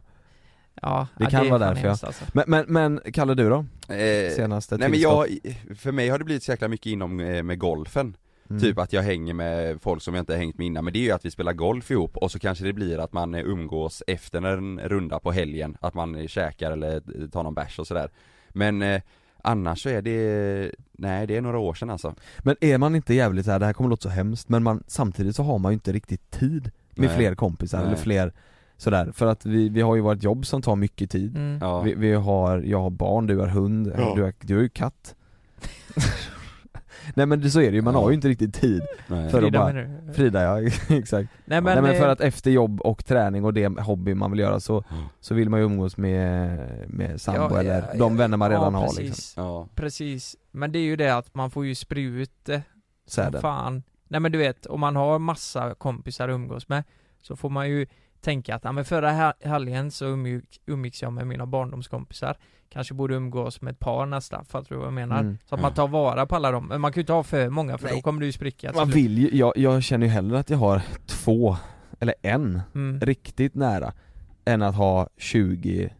[SPEAKER 4] ja.
[SPEAKER 2] Det
[SPEAKER 4] ja,
[SPEAKER 2] kan
[SPEAKER 4] är
[SPEAKER 2] vara
[SPEAKER 4] fan
[SPEAKER 2] därför jag-
[SPEAKER 4] hemskt, alltså.
[SPEAKER 2] Men, men, men Kalle du då?
[SPEAKER 3] eh,
[SPEAKER 2] Senaste
[SPEAKER 3] Nej men
[SPEAKER 2] tillskott?
[SPEAKER 3] jag, för mig har det blivit så jäkla mycket inom eh, med golfen
[SPEAKER 2] Mm.
[SPEAKER 3] Typ att jag hänger med folk som jag inte har hängt med innan, men det är ju att vi spelar golf ihop och så kanske det blir att man eh, umgås efter en runda på helgen, att man eh, käkar eller eh, tar någon bärs och sådär Men eh, annars så är det, nej det är några år sedan alltså
[SPEAKER 2] Men är man inte jävligt så här, det här kommer låta så hemskt, men man, samtidigt så har man ju inte riktigt tid med
[SPEAKER 3] Nej.
[SPEAKER 2] fler kompisar
[SPEAKER 3] Nej.
[SPEAKER 2] eller fler sådär, för att vi, vi har ju vårt jobb som tar mycket tid
[SPEAKER 4] Mm.
[SPEAKER 3] Ja,
[SPEAKER 2] Vi, vi har, jag har barn, du har hund,
[SPEAKER 3] Ja.
[SPEAKER 2] du, har, du har ju katt Nej men det, så är det ju, man
[SPEAKER 3] Ja.
[SPEAKER 2] har ju inte riktigt tid
[SPEAKER 3] nej.
[SPEAKER 2] för att
[SPEAKER 4] Frida
[SPEAKER 2] bara,
[SPEAKER 4] menar du?
[SPEAKER 2] Frida ja, exakt
[SPEAKER 4] Nej men,
[SPEAKER 2] Nej men för
[SPEAKER 4] eh,
[SPEAKER 2] att efter jobb och träning och det hobby man vill göra så,
[SPEAKER 3] Ja.
[SPEAKER 2] så vill man ju umgås med, med sambo
[SPEAKER 4] Ja,
[SPEAKER 2] eller
[SPEAKER 4] ja,
[SPEAKER 2] de
[SPEAKER 4] ja,
[SPEAKER 2] vänner man redan
[SPEAKER 4] ja,
[SPEAKER 2] har
[SPEAKER 4] precis.
[SPEAKER 2] liksom
[SPEAKER 3] Ja,
[SPEAKER 4] Precis, men det är ju det att man får ju sprida ut det
[SPEAKER 2] så är det.
[SPEAKER 4] Fan. Nej men du vet, om man har massa kompisar att umgås med så får man ju tänka att, ja men förra hel- helgen så umgick, umgicks jag med mina barndomskompisar. Kanske borde umgås med ett par nästa, fattar du vad jag menar?
[SPEAKER 2] Mm.
[SPEAKER 4] Så att man tar vara på alla dem, men man kan ju inte ha för många för då
[SPEAKER 2] Nej.
[SPEAKER 4] kommer du ju spricka.
[SPEAKER 2] Man vill ju, jag, jag känner ju hellre att jag har två, eller en,
[SPEAKER 4] Mm.
[SPEAKER 2] riktigt nära än att ha 20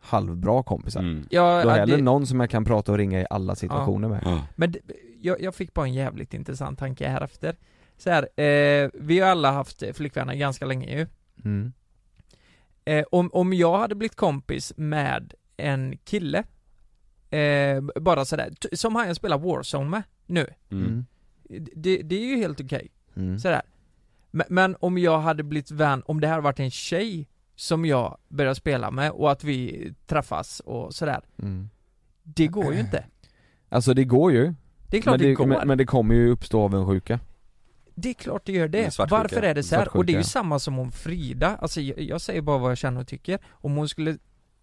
[SPEAKER 2] halvbra kompisar
[SPEAKER 3] mm.
[SPEAKER 4] Ja,
[SPEAKER 2] Då
[SPEAKER 4] ja,
[SPEAKER 2] hellre
[SPEAKER 4] det,
[SPEAKER 2] någon som jag kan prata och ringa i alla situationer med
[SPEAKER 3] Ja.
[SPEAKER 4] men det, jag, jag fick bara en jävligt intressant tanke här efter. Så här, eh, vi har alla haft eh, flickvänner ganska länge ju.
[SPEAKER 2] mm.
[SPEAKER 4] Eh, om, om jag hade blivit kompis med en kille, eh, bara sådär, t- som han jag spelar Warzone med nu,
[SPEAKER 3] Mm.
[SPEAKER 4] det, det är ju helt okej.
[SPEAKER 2] Mm.
[SPEAKER 4] Sådär. Men, men om jag hade blivit vän, om det här hade varit en tjej som jag började spela med och att vi träffas och sådär,
[SPEAKER 2] Mm.
[SPEAKER 4] det går ju inte.
[SPEAKER 2] Alltså det går ju,
[SPEAKER 4] Det är klart
[SPEAKER 2] Eh. men
[SPEAKER 4] det,
[SPEAKER 2] det,
[SPEAKER 4] går.
[SPEAKER 2] men, men det kommer ju uppstå avundsjuka
[SPEAKER 4] Det är klart det gör det.
[SPEAKER 3] Det är svartsjuka.
[SPEAKER 4] Varför är det så här?
[SPEAKER 2] Mm, Svartsjuka.
[SPEAKER 4] Och det är ju samma som om Frida, alltså jag, jag säger bara vad jag känner och tycker. Om hon skulle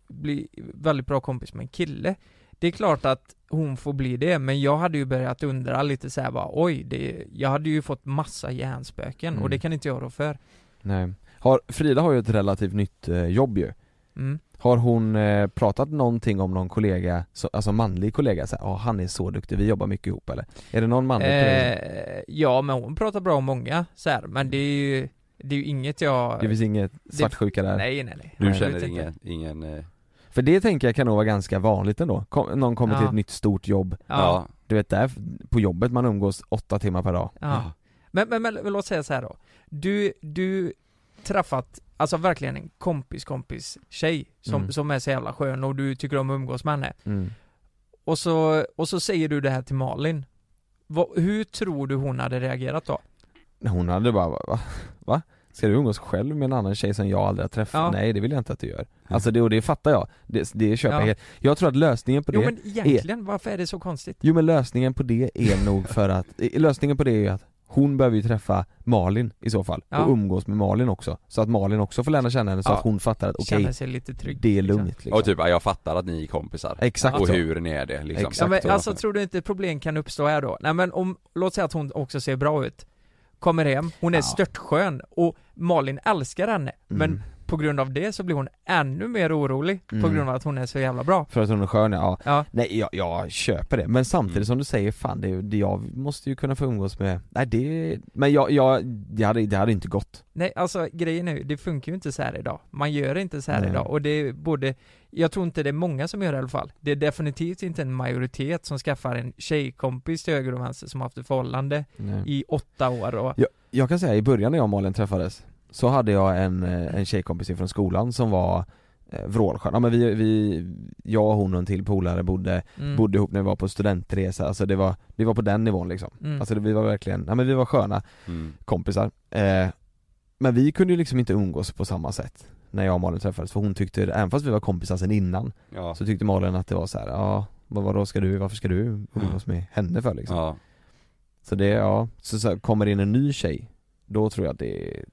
[SPEAKER 4] bli väldigt bra kompis med en kille, det är klart att hon får bli det, men jag hade ju börjat undra lite så här bara, oj, det, jag hade ju fått massa hjärnspöken
[SPEAKER 2] Mm.
[SPEAKER 4] och det kan inte jag rå för.
[SPEAKER 2] Nej. Har, Frida har ju ett relativt nytt eh, jobb ju
[SPEAKER 4] Mm.
[SPEAKER 2] Har hon eh, pratat någonting om någon kollega, så, alltså manlig kollega så här, "Ja, han är så duktig, vi jobbar mycket ihop eller? Är det någon manlig kollega?
[SPEAKER 4] Eh, ja, men hon pratar bra om många så här, men det är ju, det är ju inget jag...
[SPEAKER 2] Det finns inget svartsjuka där?
[SPEAKER 4] nej, nej, nej.
[SPEAKER 3] Du
[SPEAKER 4] Absolut
[SPEAKER 3] känner
[SPEAKER 4] inte.
[SPEAKER 3] ingen, ingen, eh,
[SPEAKER 2] För det tänker jag kan nog vara ganska vanligt ändå, Kom, någon kommer till
[SPEAKER 4] Ja.
[SPEAKER 2] ett nytt stort jobb
[SPEAKER 4] ja.
[SPEAKER 3] ja,
[SPEAKER 2] Du vet där, på jobbet man umgås åtta timmar per dag
[SPEAKER 4] Ja. Men, men, men låt säga så här då. Du, du träffat, alltså verkligen en kompis kompis tjej som,
[SPEAKER 2] Mm.
[SPEAKER 4] som är så jävla skön och du tycker om att umgås med henne.
[SPEAKER 2] mm.
[SPEAKER 4] Och så, och så säger du det här till Malin. Vad- hur tror du hon hade reagerat då?
[SPEAKER 2] Hon hade bara, va- va? va? Ska du umgås själv med en annan tjej som jag aldrig har träffat?
[SPEAKER 4] Ja. Mm.
[SPEAKER 2] Nej det vill jag inte att du gör Alltså det, och det fattar jag, det, det köper jag
[SPEAKER 4] Ja.
[SPEAKER 2] helt Jag tror att lösningen på det
[SPEAKER 4] Jo men egentligen, varför är det så konstigt?
[SPEAKER 2] Jo men lösningen på det är nog för att, eh, lösningen på det är ju att hon behöver ju träffa Malin i så fall,
[SPEAKER 4] Ja.
[SPEAKER 2] och umgås med Malin också Så att Malin också får lära känna henne så
[SPEAKER 4] Ja.
[SPEAKER 2] att hon fattar att okej,
[SPEAKER 4] Känner sig lite trygg.
[SPEAKER 2] det är
[SPEAKER 4] liksom.
[SPEAKER 2] lugnt liksom.
[SPEAKER 3] och typ ja, jag fattar att ni är kompisar
[SPEAKER 2] Exakt
[SPEAKER 3] och
[SPEAKER 2] så.
[SPEAKER 3] hur ni är det liksom
[SPEAKER 2] Exakt
[SPEAKER 4] Ja, men,
[SPEAKER 2] så.
[SPEAKER 4] alltså tror du inte problem kan uppstå här då? Nej men om, låt säga att hon också ser bra ut Kommer hem, hon är
[SPEAKER 2] Ja.
[SPEAKER 4] störtskön och Malin älskar henne
[SPEAKER 2] Mm.
[SPEAKER 4] Men på grund av det så blir hon ännu mer orolig
[SPEAKER 2] Mm.
[SPEAKER 4] på grund av att hon är så jävla bra
[SPEAKER 2] För att hon är skön ja, ja.
[SPEAKER 4] Ja.
[SPEAKER 2] nej jag, jag köper det, men samtidigt
[SPEAKER 3] Mm.
[SPEAKER 2] som du säger fan det, det, jag måste ju kunna få umgås med, nej det, men jag, jag, det hade, det hade inte gått
[SPEAKER 4] Nej alltså grejen är ju, det funkar ju inte så här idag Man gör inte så här
[SPEAKER 2] Nej.
[SPEAKER 4] idag och det borde Jag tror inte det är många som gör det i alla fall Det är definitivt inte en majoritet som skaffar en tjejkompis till höger och vänster som haft ett förhållande
[SPEAKER 2] Mm.
[SPEAKER 4] i åtta år och
[SPEAKER 2] jag, jag kan säga i början när jag och Malin träffades, så hade jag en, eh, en tjejkompis från skolan som var eh, vrålskön, ja men vi, vi, jag och hon och en till polare bodde
[SPEAKER 4] mm,
[SPEAKER 2] bodde ihop när vi var på studentresa, alltså det var, det var på den nivån liksom
[SPEAKER 4] mm.
[SPEAKER 2] Alltså det, vi var verkligen, ja men vi var sköna
[SPEAKER 3] Mm.
[SPEAKER 2] kompisar eh, Men vi kunde ju liksom inte umgås på samma sätt när jag och Malin träffades för hon tyckte, även fast vi var kompisar sen innan,
[SPEAKER 3] Ja.
[SPEAKER 2] så tyckte Malin att det var så här, ja vad, vadå ska du, varför ska du umgås med henne för liksom?
[SPEAKER 3] ja,
[SPEAKER 2] Så det, ja, så, så här, kommer det in en ny tjej, då tror jag att det,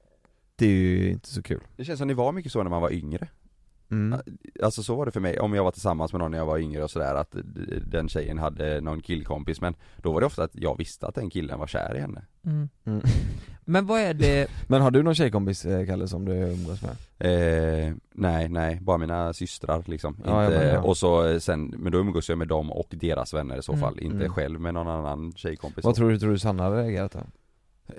[SPEAKER 2] det är ju inte så kul
[SPEAKER 3] det känns som ni var mycket så när man var yngre
[SPEAKER 2] mm.
[SPEAKER 3] Alltså så var det för mig, om jag var tillsammans med någon när jag var yngre och sådär att d- den tjejen hade någon killkompis men då var det ofta att jag visste att den killen var kär i henne
[SPEAKER 4] Mm.
[SPEAKER 2] Mm.
[SPEAKER 4] Men vad är det
[SPEAKER 2] Men har du någon tjejkompis eh, Kalle som du umgås med?
[SPEAKER 3] Eh, nej, nej, bara mina systrar liksom.
[SPEAKER 2] Ja,
[SPEAKER 3] inte,
[SPEAKER 2] ja, men ja.
[SPEAKER 3] Och så eh, sen, men då umgås jag med dem och deras vänner i så
[SPEAKER 4] Mm,
[SPEAKER 3] fall, inte
[SPEAKER 2] mm.
[SPEAKER 3] själv med någon annan tjejkompis
[SPEAKER 2] Vad tror du, tror du Sanna hade reagerat då?
[SPEAKER 3] Eh,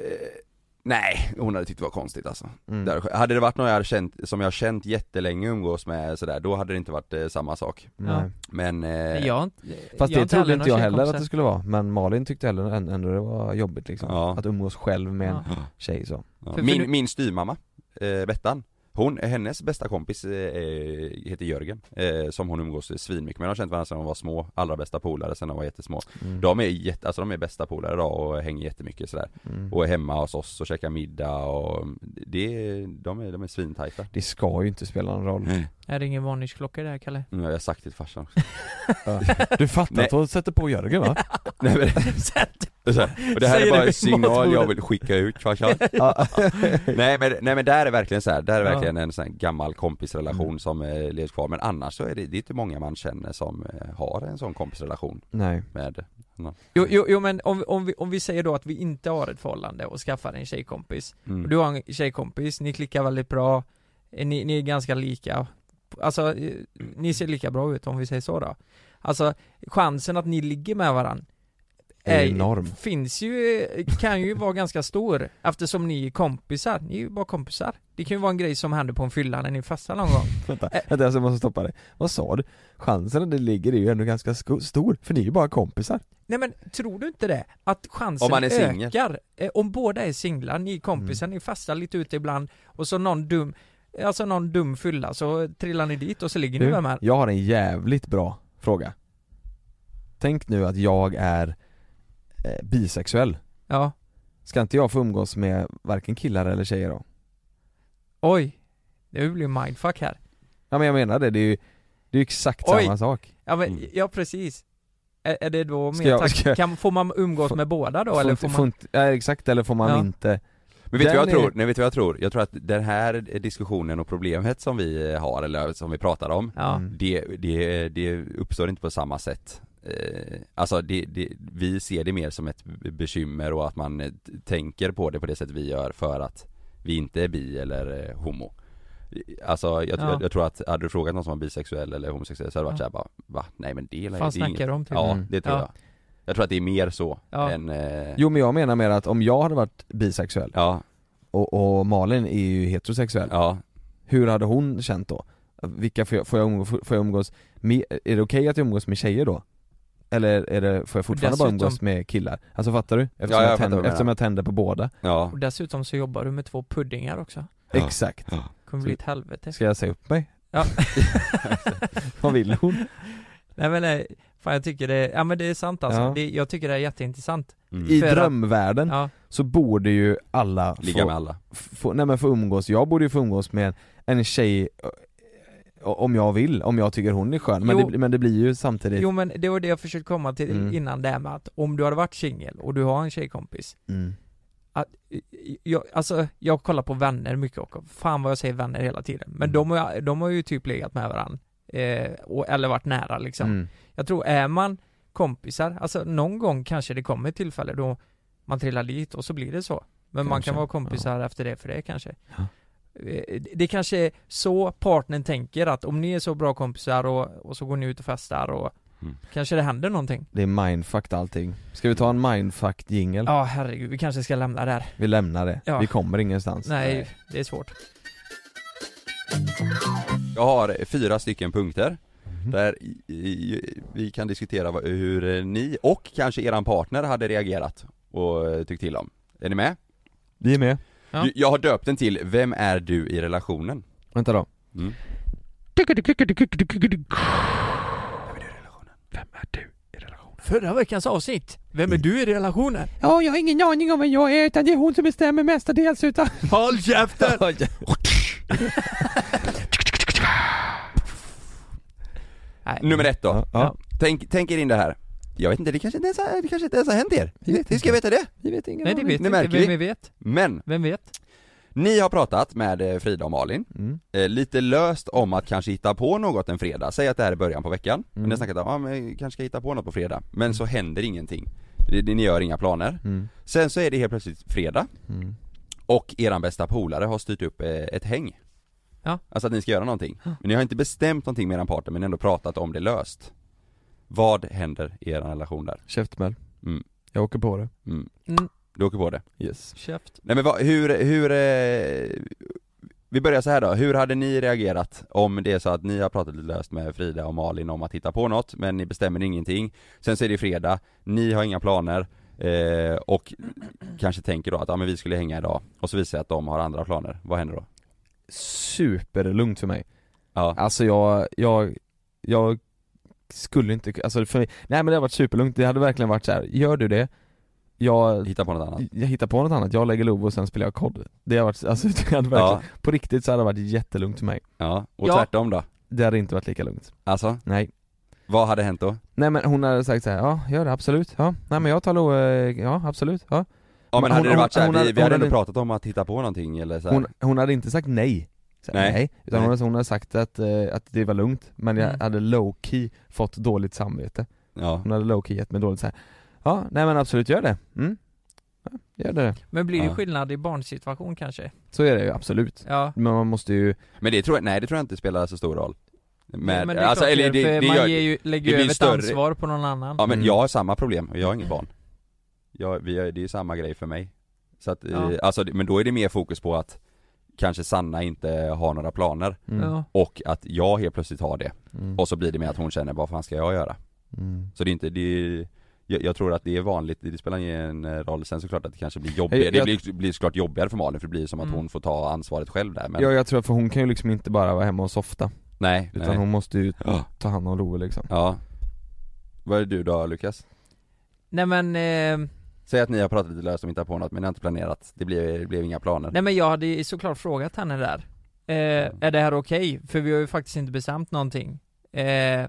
[SPEAKER 3] Nej, hon hade tyckt det var konstigt alltså.
[SPEAKER 2] Mm.
[SPEAKER 3] Det hade- Hade det varit någon jag hade känt, som jag har känt jättelänge umgås med sådär, då hade det inte varit eh, samma sak.
[SPEAKER 2] Nej.
[SPEAKER 4] Ja.
[SPEAKER 3] Men, eh,
[SPEAKER 4] Jag, har inte- jag
[SPEAKER 2] Fast
[SPEAKER 4] har
[SPEAKER 2] det trodde
[SPEAKER 4] heller
[SPEAKER 2] inte jag
[SPEAKER 4] några
[SPEAKER 2] heller att det
[SPEAKER 4] tjejkompisar.
[SPEAKER 2] skulle vara, men Malin tyckte heller än- ändå det var jobbigt liksom
[SPEAKER 3] Ja.
[SPEAKER 2] Att umgås själv med en tjej så
[SPEAKER 3] ja.
[SPEAKER 4] för
[SPEAKER 3] min,
[SPEAKER 4] du-
[SPEAKER 3] min styvmamma, eh, Bettan, hon, hennes bästa kompis eh, eh, heter Jörgen, eh, som hon umgås svinmycket med. De har känt varandra sedan de var små, allra bästa polare sedan de var jättesmå.
[SPEAKER 2] mm.
[SPEAKER 3] De är jätte, alltså de är bästa polare idag och hänger jättemycket sådär.
[SPEAKER 2] Mm.
[SPEAKER 3] Och är hemma hos oss och käkar middag och det, de är, de är svintajta.
[SPEAKER 2] Det ska ju inte spela någon roll
[SPEAKER 4] Är det ingen varningsklocka där Kalle?
[SPEAKER 3] Nu har jag sagt det till farsan också.
[SPEAKER 2] Du fattar
[SPEAKER 3] Nej.
[SPEAKER 2] att hon sätter på Jörgen va?
[SPEAKER 3] Nej, men,
[SPEAKER 4] Sätt-
[SPEAKER 3] och så här, och det här
[SPEAKER 4] Säger
[SPEAKER 3] är bara
[SPEAKER 4] det
[SPEAKER 3] en
[SPEAKER 4] vid
[SPEAKER 3] signal jag
[SPEAKER 4] matbordet.
[SPEAKER 3] vill skicka ut farsan.
[SPEAKER 2] Ja.
[SPEAKER 3] nej, men, nej men där är verkligen så här, där är
[SPEAKER 4] Ja.
[SPEAKER 3] verkligen en sån här gammal kompisrelation
[SPEAKER 2] Mm.
[SPEAKER 3] som eh, lever kvar. Men annars så är det, det är inte många man känner som eh, har en sån kompisrelation
[SPEAKER 2] Nej,
[SPEAKER 3] med.
[SPEAKER 4] Jo, jo, jo men om, vi- om, vi, om vi säger då att vi inte har ett förhållande och skaffar en tjejkompis
[SPEAKER 3] Mm.
[SPEAKER 4] och Du har en tjejkompis, ni klickar väldigt bra eh, Ni, ni är ganska lika Alltså, eh, ni ser lika bra ut om vi säger så då Alltså, chansen att ni ligger med varandra
[SPEAKER 2] är enorm
[SPEAKER 4] Finns ju, kan ju vara ganska stor Eftersom ni är kompisar, ni är ju bara kompisar Det kan ju vara en grej som händer på en fylla när ni festar någon gång
[SPEAKER 2] Vänta,
[SPEAKER 4] Eh.
[SPEAKER 2] vänta jag måste stoppa dig Vad sa du? Chansen att det ligger är ju ändå ganska sko- stor, för ni är ju bara kompisar
[SPEAKER 4] Nej men tror du inte det? Att chansen
[SPEAKER 3] Om man är singel.
[SPEAKER 2] Mm.
[SPEAKER 4] ökar? Eh, om båda är singlar, ni är kompisar, ni fastar lite ute ibland och så någon dum alltså någon dum fylla så trillar ni dit och så ligger ni
[SPEAKER 2] Du,
[SPEAKER 4] med de här.
[SPEAKER 2] Jag har en jävligt bra fråga Tänk nu att jag är eh, bisexuell
[SPEAKER 4] Ja.
[SPEAKER 2] Ska inte jag få umgås med varken killar eller tjejer då?
[SPEAKER 4] Oj. Det blir mindfuck här.
[SPEAKER 2] Ja men jag menar det, det är ju det är ju exakt
[SPEAKER 4] Oj.
[SPEAKER 2] samma sak
[SPEAKER 4] Ja men,
[SPEAKER 3] Mm.
[SPEAKER 4] ja precis. Är, är det då
[SPEAKER 2] Ska
[SPEAKER 4] mer
[SPEAKER 2] jag-
[SPEAKER 4] tack,
[SPEAKER 2] ska jag-
[SPEAKER 4] kan, får man umgås
[SPEAKER 2] Får-
[SPEAKER 4] med båda då
[SPEAKER 2] Får
[SPEAKER 4] eller
[SPEAKER 2] inte-
[SPEAKER 4] får man?
[SPEAKER 2] får inte- ja, exakt, eller får man
[SPEAKER 4] Ja.
[SPEAKER 2] inte
[SPEAKER 3] Men vet du
[SPEAKER 2] Den
[SPEAKER 3] vad jag
[SPEAKER 2] är-
[SPEAKER 3] tror? Nej vet du vad jag tror? Jag tror att den här diskussionen och problemet som vi eh, har, eller som vi pratar om
[SPEAKER 4] Ja.
[SPEAKER 2] Mm.
[SPEAKER 3] det, det, det uppstår inte på samma sätt Eh, Alltså det, det, vi ser det mer som ett b- bekymmer och att man eh, t- tänker på det på det sätt vi gör för att vi inte är bi eller eh, homo Alltså jag,
[SPEAKER 4] Ja.
[SPEAKER 3] jag, jag tror att, hade du frågat någon som var bisexuell eller homosexuell så hade det varit
[SPEAKER 4] Ja.
[SPEAKER 3] såhär bara Va? Nej men det är
[SPEAKER 4] fan
[SPEAKER 3] det är inget."
[SPEAKER 4] snackar du om typ?
[SPEAKER 3] Ja,
[SPEAKER 2] Mm.
[SPEAKER 3] det tror
[SPEAKER 4] Ja.
[SPEAKER 3] jag Jag tror att det är mer så
[SPEAKER 4] Ja.
[SPEAKER 3] än eh,
[SPEAKER 2] Jo men jag menar mer att om jag hade varit bisexuell
[SPEAKER 3] Ja,
[SPEAKER 2] och, och Malin är ju heterosexuell
[SPEAKER 3] ja,
[SPEAKER 2] Hur hade hon känt då? Vilka får jag, får jag, umgås, får jag umgås med, är det okej att jag umgås med tjejer då? Eller är det, får jag fortfarande bara
[SPEAKER 4] Dessutom-
[SPEAKER 2] umgås med killar? Alltså fattar du? Eftersom,
[SPEAKER 3] Ja, jag
[SPEAKER 2] jag,
[SPEAKER 3] fattar vad du
[SPEAKER 2] tänder,
[SPEAKER 3] menar.
[SPEAKER 2] eftersom jag tänder på båda
[SPEAKER 3] ja
[SPEAKER 4] Och dessutom så jobbar du med två puddingar också.
[SPEAKER 3] Ja.
[SPEAKER 2] Exakt,
[SPEAKER 4] Kommer bli ett helvete.
[SPEAKER 2] ska jag säga upp mig?
[SPEAKER 4] Ja.
[SPEAKER 2] Vad vill hon?
[SPEAKER 4] Nej men nej, fan jag tycker det, ja men det är sant alltså.
[SPEAKER 2] Ja.
[SPEAKER 4] Det, jag tycker det är jätteintressant.
[SPEAKER 3] mm.
[SPEAKER 2] I
[SPEAKER 4] För att-
[SPEAKER 2] drömvärlden
[SPEAKER 4] Ja,
[SPEAKER 2] så borde ju alla
[SPEAKER 3] Ligga
[SPEAKER 2] få,
[SPEAKER 3] med alla
[SPEAKER 2] få, nej men få umgås, jag borde ju få umgås med en, en tjej eh, om jag vill, om jag tycker hon är skön, men
[SPEAKER 4] Jo.
[SPEAKER 2] det, men det blir ju samtidigt
[SPEAKER 4] jo men det var det jag försökte komma till
[SPEAKER 2] Mm.
[SPEAKER 4] innan det här med att om du hade varit singel och du har en tjejkompis
[SPEAKER 2] mm.
[SPEAKER 4] jag, Alltså jag kollar på vänner mycket och fan vad jag säger vänner hela tiden Men
[SPEAKER 2] Mm.
[SPEAKER 4] de, har- de har ju typ legat med varandra eh, och, Eller varit nära liksom
[SPEAKER 2] Mm.
[SPEAKER 4] Jag tror är man kompisar, alltså någon gång kanske det kommer ett tillfälle då man trillar dit och så blir det så Men man
[SPEAKER 2] Kanske,
[SPEAKER 4] kan vara kompisar efter det för det kanske
[SPEAKER 2] Ja.
[SPEAKER 4] Eh, Det kanske är så partnern tänker att om ni är så bra kompisar och, och så går ni ut och festar och
[SPEAKER 3] Mm.
[SPEAKER 4] kanske det händer någonting
[SPEAKER 2] Det är mindfucked allting. Ska vi ta en mindfucked jingle?
[SPEAKER 4] Ja herregud, vi kanske ska lämna det här
[SPEAKER 2] Vi lämnar det,
[SPEAKER 4] Ja.
[SPEAKER 2] vi kommer ingenstans
[SPEAKER 4] Nej, det är svårt
[SPEAKER 3] Jag har fyra stycken punkter
[SPEAKER 2] Mhm.
[SPEAKER 3] där i, i, vi kan diskutera vad, hur eh, ni och kanske eran partner hade reagerat och eh, tyckt till om. Är ni med?
[SPEAKER 2] Vi är med
[SPEAKER 4] Ja.
[SPEAKER 3] Ju- Jag har döpt den till Vem är du i relationen?
[SPEAKER 2] Vänta då
[SPEAKER 3] Mm.
[SPEAKER 4] Förra veckans avsnitt, vem är du i relationen?
[SPEAKER 2] Ja, jag har ingen aning om vem jag är utan det är hon som bestämmer mestadels utan
[SPEAKER 4] Håll käften! Nej.
[SPEAKER 3] Nummer ett då.
[SPEAKER 2] Ja, ja.
[SPEAKER 3] Tänk, tänk er in det här. Jag vet inte, det kanske inte ens har, det kanske inte ens har hänt er. Hur ska jag veta det?
[SPEAKER 2] Vi vet ingen
[SPEAKER 4] Nej det vet
[SPEAKER 3] Det
[SPEAKER 4] inte,
[SPEAKER 3] märker vi.
[SPEAKER 4] vem vet?
[SPEAKER 3] Men,
[SPEAKER 4] Vem vet?
[SPEAKER 3] ni har pratat med eh, Frida och Malin,
[SPEAKER 2] Mm.
[SPEAKER 3] eh, lite löst om att kanske hitta på något en fredag. Säg att det här är början på veckan. Men
[SPEAKER 2] Mm.
[SPEAKER 3] ni har snackat om, ja, men jag kanske ska hitta på något på fredag. Men så händer ingenting. Det- det- Ni gör inga planer.
[SPEAKER 2] Mm.
[SPEAKER 3] Sen så är det helt plötsligt fredag
[SPEAKER 2] Mm.
[SPEAKER 3] och eran bästa polare har styrt upp eh, ett häng
[SPEAKER 4] Ja.
[SPEAKER 3] Alltså att ni ska göra någonting. Men ni har inte bestämt någonting med eran partner men ni har ändå pratat om det löst Vad händer i eran relation där?
[SPEAKER 2] Käftsmäll
[SPEAKER 3] Mm.
[SPEAKER 2] Jag åker på det
[SPEAKER 3] Mm.
[SPEAKER 4] Mm.
[SPEAKER 3] Du åker på det.
[SPEAKER 2] Yes
[SPEAKER 4] Käft.
[SPEAKER 3] Nej men vad, hur, hur eh, Vi börjar så här då, hur hade ni reagerat om det är så att ni har pratat lite löst med Frida och Malin om att hitta på något men ni bestämmer ingenting Sen så är det fredag, ni har inga planer eh, och kanske tänker då att ja, men vi skulle hänga idag och så visar det sig att de har andra planer, vad händer då?
[SPEAKER 2] Superlugnt för mig
[SPEAKER 3] Ja,
[SPEAKER 2] Alltså jag, jag, jag skulle inte, alltså för mig, nej men det har varit superlugnt, det hade verkligen varit så här. gör du det jag,
[SPEAKER 3] hitta på något annat
[SPEAKER 2] jag hittar på något annat, jag lägger lov och sen spelar jag kod Det har varit, alltså det hade verkligen,
[SPEAKER 3] Ja,
[SPEAKER 2] på riktigt så hade det varit jättelugnt för mig
[SPEAKER 3] ja, och
[SPEAKER 4] Ja.
[SPEAKER 3] tvärtom då?
[SPEAKER 2] Det hade inte varit lika lugnt,
[SPEAKER 3] Alltså,
[SPEAKER 2] nej
[SPEAKER 3] vad hade hänt då?
[SPEAKER 2] Nej men hon hade sagt så här, ja gör det absolut, ja, nej men jag tar lov, eh, ja absolut, ja
[SPEAKER 3] Ja men
[SPEAKER 2] Hon-
[SPEAKER 3] hade det
[SPEAKER 2] hon-
[SPEAKER 3] varit såhär,
[SPEAKER 2] hon
[SPEAKER 3] vi,
[SPEAKER 2] hade-
[SPEAKER 3] vi
[SPEAKER 2] hon
[SPEAKER 3] hade ändå
[SPEAKER 2] hade-
[SPEAKER 3] pratat om att hitta på någonting eller så här.
[SPEAKER 2] Hon, hon hade inte sagt nej, så här,
[SPEAKER 3] Nej.
[SPEAKER 2] nej. utan
[SPEAKER 3] Nej.
[SPEAKER 2] Hon, hade, hon hade sagt att, eh, att det var lugnt, men jag
[SPEAKER 4] Mm.
[SPEAKER 2] hade low key fått dåligt samvete
[SPEAKER 3] ja.
[SPEAKER 2] Hon hade low key gett mig dåligt så här. ja nej men absolut gör det, mm. ja, gör det
[SPEAKER 4] Men blir det
[SPEAKER 3] Ja.
[SPEAKER 4] skillnad i barnsituation kanske?
[SPEAKER 2] Så är det ju absolut,
[SPEAKER 4] Ja.
[SPEAKER 2] men man måste ju,
[SPEAKER 3] Men det tror jag, nej det tror jag inte spelar så stor roll
[SPEAKER 4] Men,
[SPEAKER 3] Med,
[SPEAKER 4] men det är
[SPEAKER 3] alltså,
[SPEAKER 4] klart
[SPEAKER 3] eller
[SPEAKER 4] det,
[SPEAKER 3] det,
[SPEAKER 4] för
[SPEAKER 3] det
[SPEAKER 4] man
[SPEAKER 3] gör,
[SPEAKER 4] ger ju, lägger ju
[SPEAKER 3] blir
[SPEAKER 4] över ett
[SPEAKER 3] större-
[SPEAKER 4] ansvar på någon annan.
[SPEAKER 3] Ja men
[SPEAKER 2] Mm.
[SPEAKER 3] jag har samma problem, och jag har inget barn jag, vi, har- Det är ju samma grej för mig Så att, eh,
[SPEAKER 4] Ja.
[SPEAKER 3] alltså, det- men då är det mer fokus på att Kanske Sanna inte har några planer
[SPEAKER 2] mm.
[SPEAKER 4] Ja.
[SPEAKER 3] och att jag helt plötsligt har det
[SPEAKER 2] Mm.
[SPEAKER 3] och så blir det med att hon känner vad fan ska jag göra?
[SPEAKER 2] Mm.
[SPEAKER 3] Så det är inte, det är, jag, jag tror att det är vanligt, det spelar ingen roll sen såklart att det kanske blir jobbigare,
[SPEAKER 2] Jag-
[SPEAKER 3] det
[SPEAKER 2] jag-
[SPEAKER 3] blir, blir såklart jobbigare för Malin för det blir som att
[SPEAKER 4] Mm.
[SPEAKER 3] hon får ta ansvaret själv där men
[SPEAKER 2] Ja jag tror för hon kan ju liksom inte bara vara hemma och softa
[SPEAKER 3] nej,
[SPEAKER 2] Utan
[SPEAKER 3] nej.
[SPEAKER 2] hon måste ju
[SPEAKER 3] Ja.
[SPEAKER 2] ta hand om Love liksom
[SPEAKER 3] ja Vad är du då Lukas?
[SPEAKER 4] Nej men, eh,
[SPEAKER 3] Säg att ni har pratat lite löst och inte har på något men ni har inte planerat, det blev, det blev inga planer
[SPEAKER 4] nej men jag hade ju såklart frågat henne där. Eh, är det här okej? För vi har ju faktiskt inte bestämt någonting. Eh,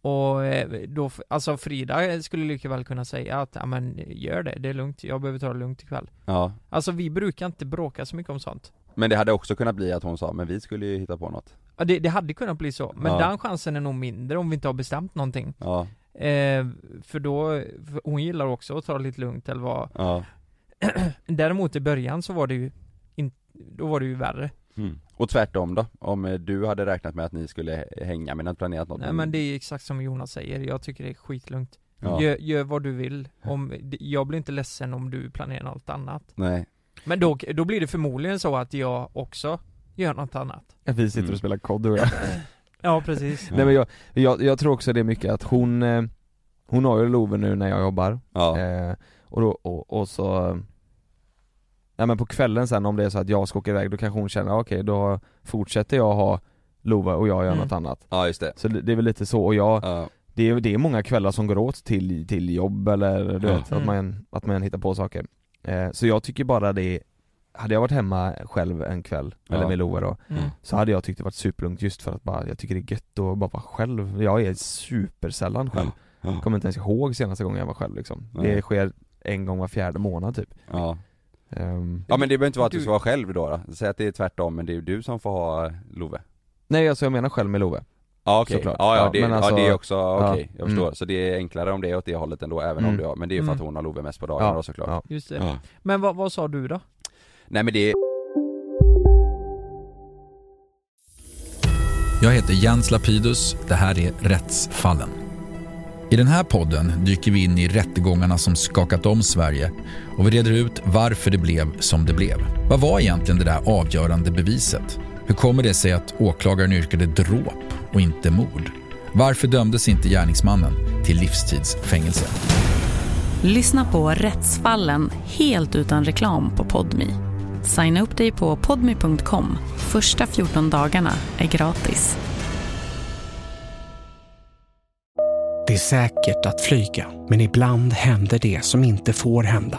[SPEAKER 4] och eh, då, f- alltså Frida skulle lika väl kunna säga att, ja men gör det, det är lugnt, jag behöver ta det lugnt ikväll.
[SPEAKER 3] Ja
[SPEAKER 4] Alltså vi brukar inte bråka så mycket om sånt.
[SPEAKER 3] Men det hade också kunnat bli att hon sa, men vi skulle ju hitta på något
[SPEAKER 4] Ja, det, det hade kunnat bli så, men
[SPEAKER 3] Ja.
[SPEAKER 4] den chansen är nog mindre om vi inte har bestämt någonting.
[SPEAKER 3] Ja,
[SPEAKER 4] Eh, för då, för hon gillar också att ta det lite lugnt eller vad.
[SPEAKER 3] ja
[SPEAKER 4] Däremot i början så var det ju, in, då var det ju värre.
[SPEAKER 3] Och tvärtom då? Om eh, du hade räknat med att ni skulle h- hänga men inte planerat något
[SPEAKER 4] Nej men det är exakt som Jonas säger, jag tycker det är skitlugnt.
[SPEAKER 3] ja.
[SPEAKER 4] Gör, gör vad du vill, om, d- jag blir inte ledsen om du planerar något annat.
[SPEAKER 3] Nej,
[SPEAKER 4] Men då, då blir det förmodligen så att jag också gör något annat.
[SPEAKER 2] Att vi sitter
[SPEAKER 3] Mm.
[SPEAKER 2] och spelar COD och jag.
[SPEAKER 4] Ja precis.
[SPEAKER 2] Nej men jag, jag, jag tror också det är mycket att hon eh, Hon har ju Love nu när jag jobbar
[SPEAKER 3] ja,
[SPEAKER 2] eh, och, då, och, och så eh, Nej men på kvällen sen om det är så att jag ska åka iväg då kanske hon känner "Ah, okej då fortsätter jag ha Love och jag gör
[SPEAKER 4] Mm.
[SPEAKER 2] något annat
[SPEAKER 3] ja just det
[SPEAKER 2] Så det, det är väl lite så och jag
[SPEAKER 3] ja.
[SPEAKER 2] det är, det är många kvällar som går åt till, till jobb eller du
[SPEAKER 3] Ja.
[SPEAKER 2] vet, att, man, att man hittar på saker eh, Så jag tycker bara det, hade jag varit hemma själv en kväll,
[SPEAKER 3] Ja.
[SPEAKER 2] eller med Loa då,
[SPEAKER 4] Mm.
[SPEAKER 2] så hade jag tyckt det varit superlugnt just för att bara, jag tycker det är gött att bara vara själv Jag är supersällan själv,
[SPEAKER 3] Ja.
[SPEAKER 2] kommer inte ens ihåg senaste gången jag var själv liksom
[SPEAKER 3] Nej.
[SPEAKER 2] Det sker en gång var fjärde månad typ
[SPEAKER 3] Ja.
[SPEAKER 2] Ehm,
[SPEAKER 3] ja men det behöver inte vara att du
[SPEAKER 4] Du-
[SPEAKER 3] ska vara själv då, då. Säg att det är tvärtom men det är ju du som får ha eh, Love
[SPEAKER 2] Nej alltså jag menar själv med Love
[SPEAKER 3] Ja okej,
[SPEAKER 2] Såklart.
[SPEAKER 3] ja, ja,
[SPEAKER 2] Ja,
[SPEAKER 3] det,
[SPEAKER 2] men alltså-
[SPEAKER 3] ja det är också, okej jag
[SPEAKER 2] mm.
[SPEAKER 3] förstår. Så det är enklare om det är åt det hållet ändå även om
[SPEAKER 2] Mm.
[SPEAKER 3] du har, men det är ju för att
[SPEAKER 4] Mm.
[SPEAKER 3] hon har Love mest på dagarna
[SPEAKER 2] Ja.
[SPEAKER 3] då såklart
[SPEAKER 2] Ja.
[SPEAKER 4] Just det.
[SPEAKER 3] Ja.
[SPEAKER 4] Men vad, vad sa du då?
[SPEAKER 3] Nej men det är,
[SPEAKER 5] Jag heter Jens Lapidus. Det här är Rättsfallen. I den här podden dyker vi in i rättegångarna som skakat om Sverige och vi reder ut varför det blev som det blev. Vad var egentligen det där avgörande beviset? Hur kommer det sig att åklagaren yrkade dråp och inte mord? Varför dömdes inte gärningsmannen till livstidsfängelse?
[SPEAKER 6] Lyssna på Rättsfallen helt utan reklam på Podmi. Signa upp dig på podmi.com. Första 14 dagarna är gratis.
[SPEAKER 7] Det är säkert att flyga, men ibland händer det som inte får hända.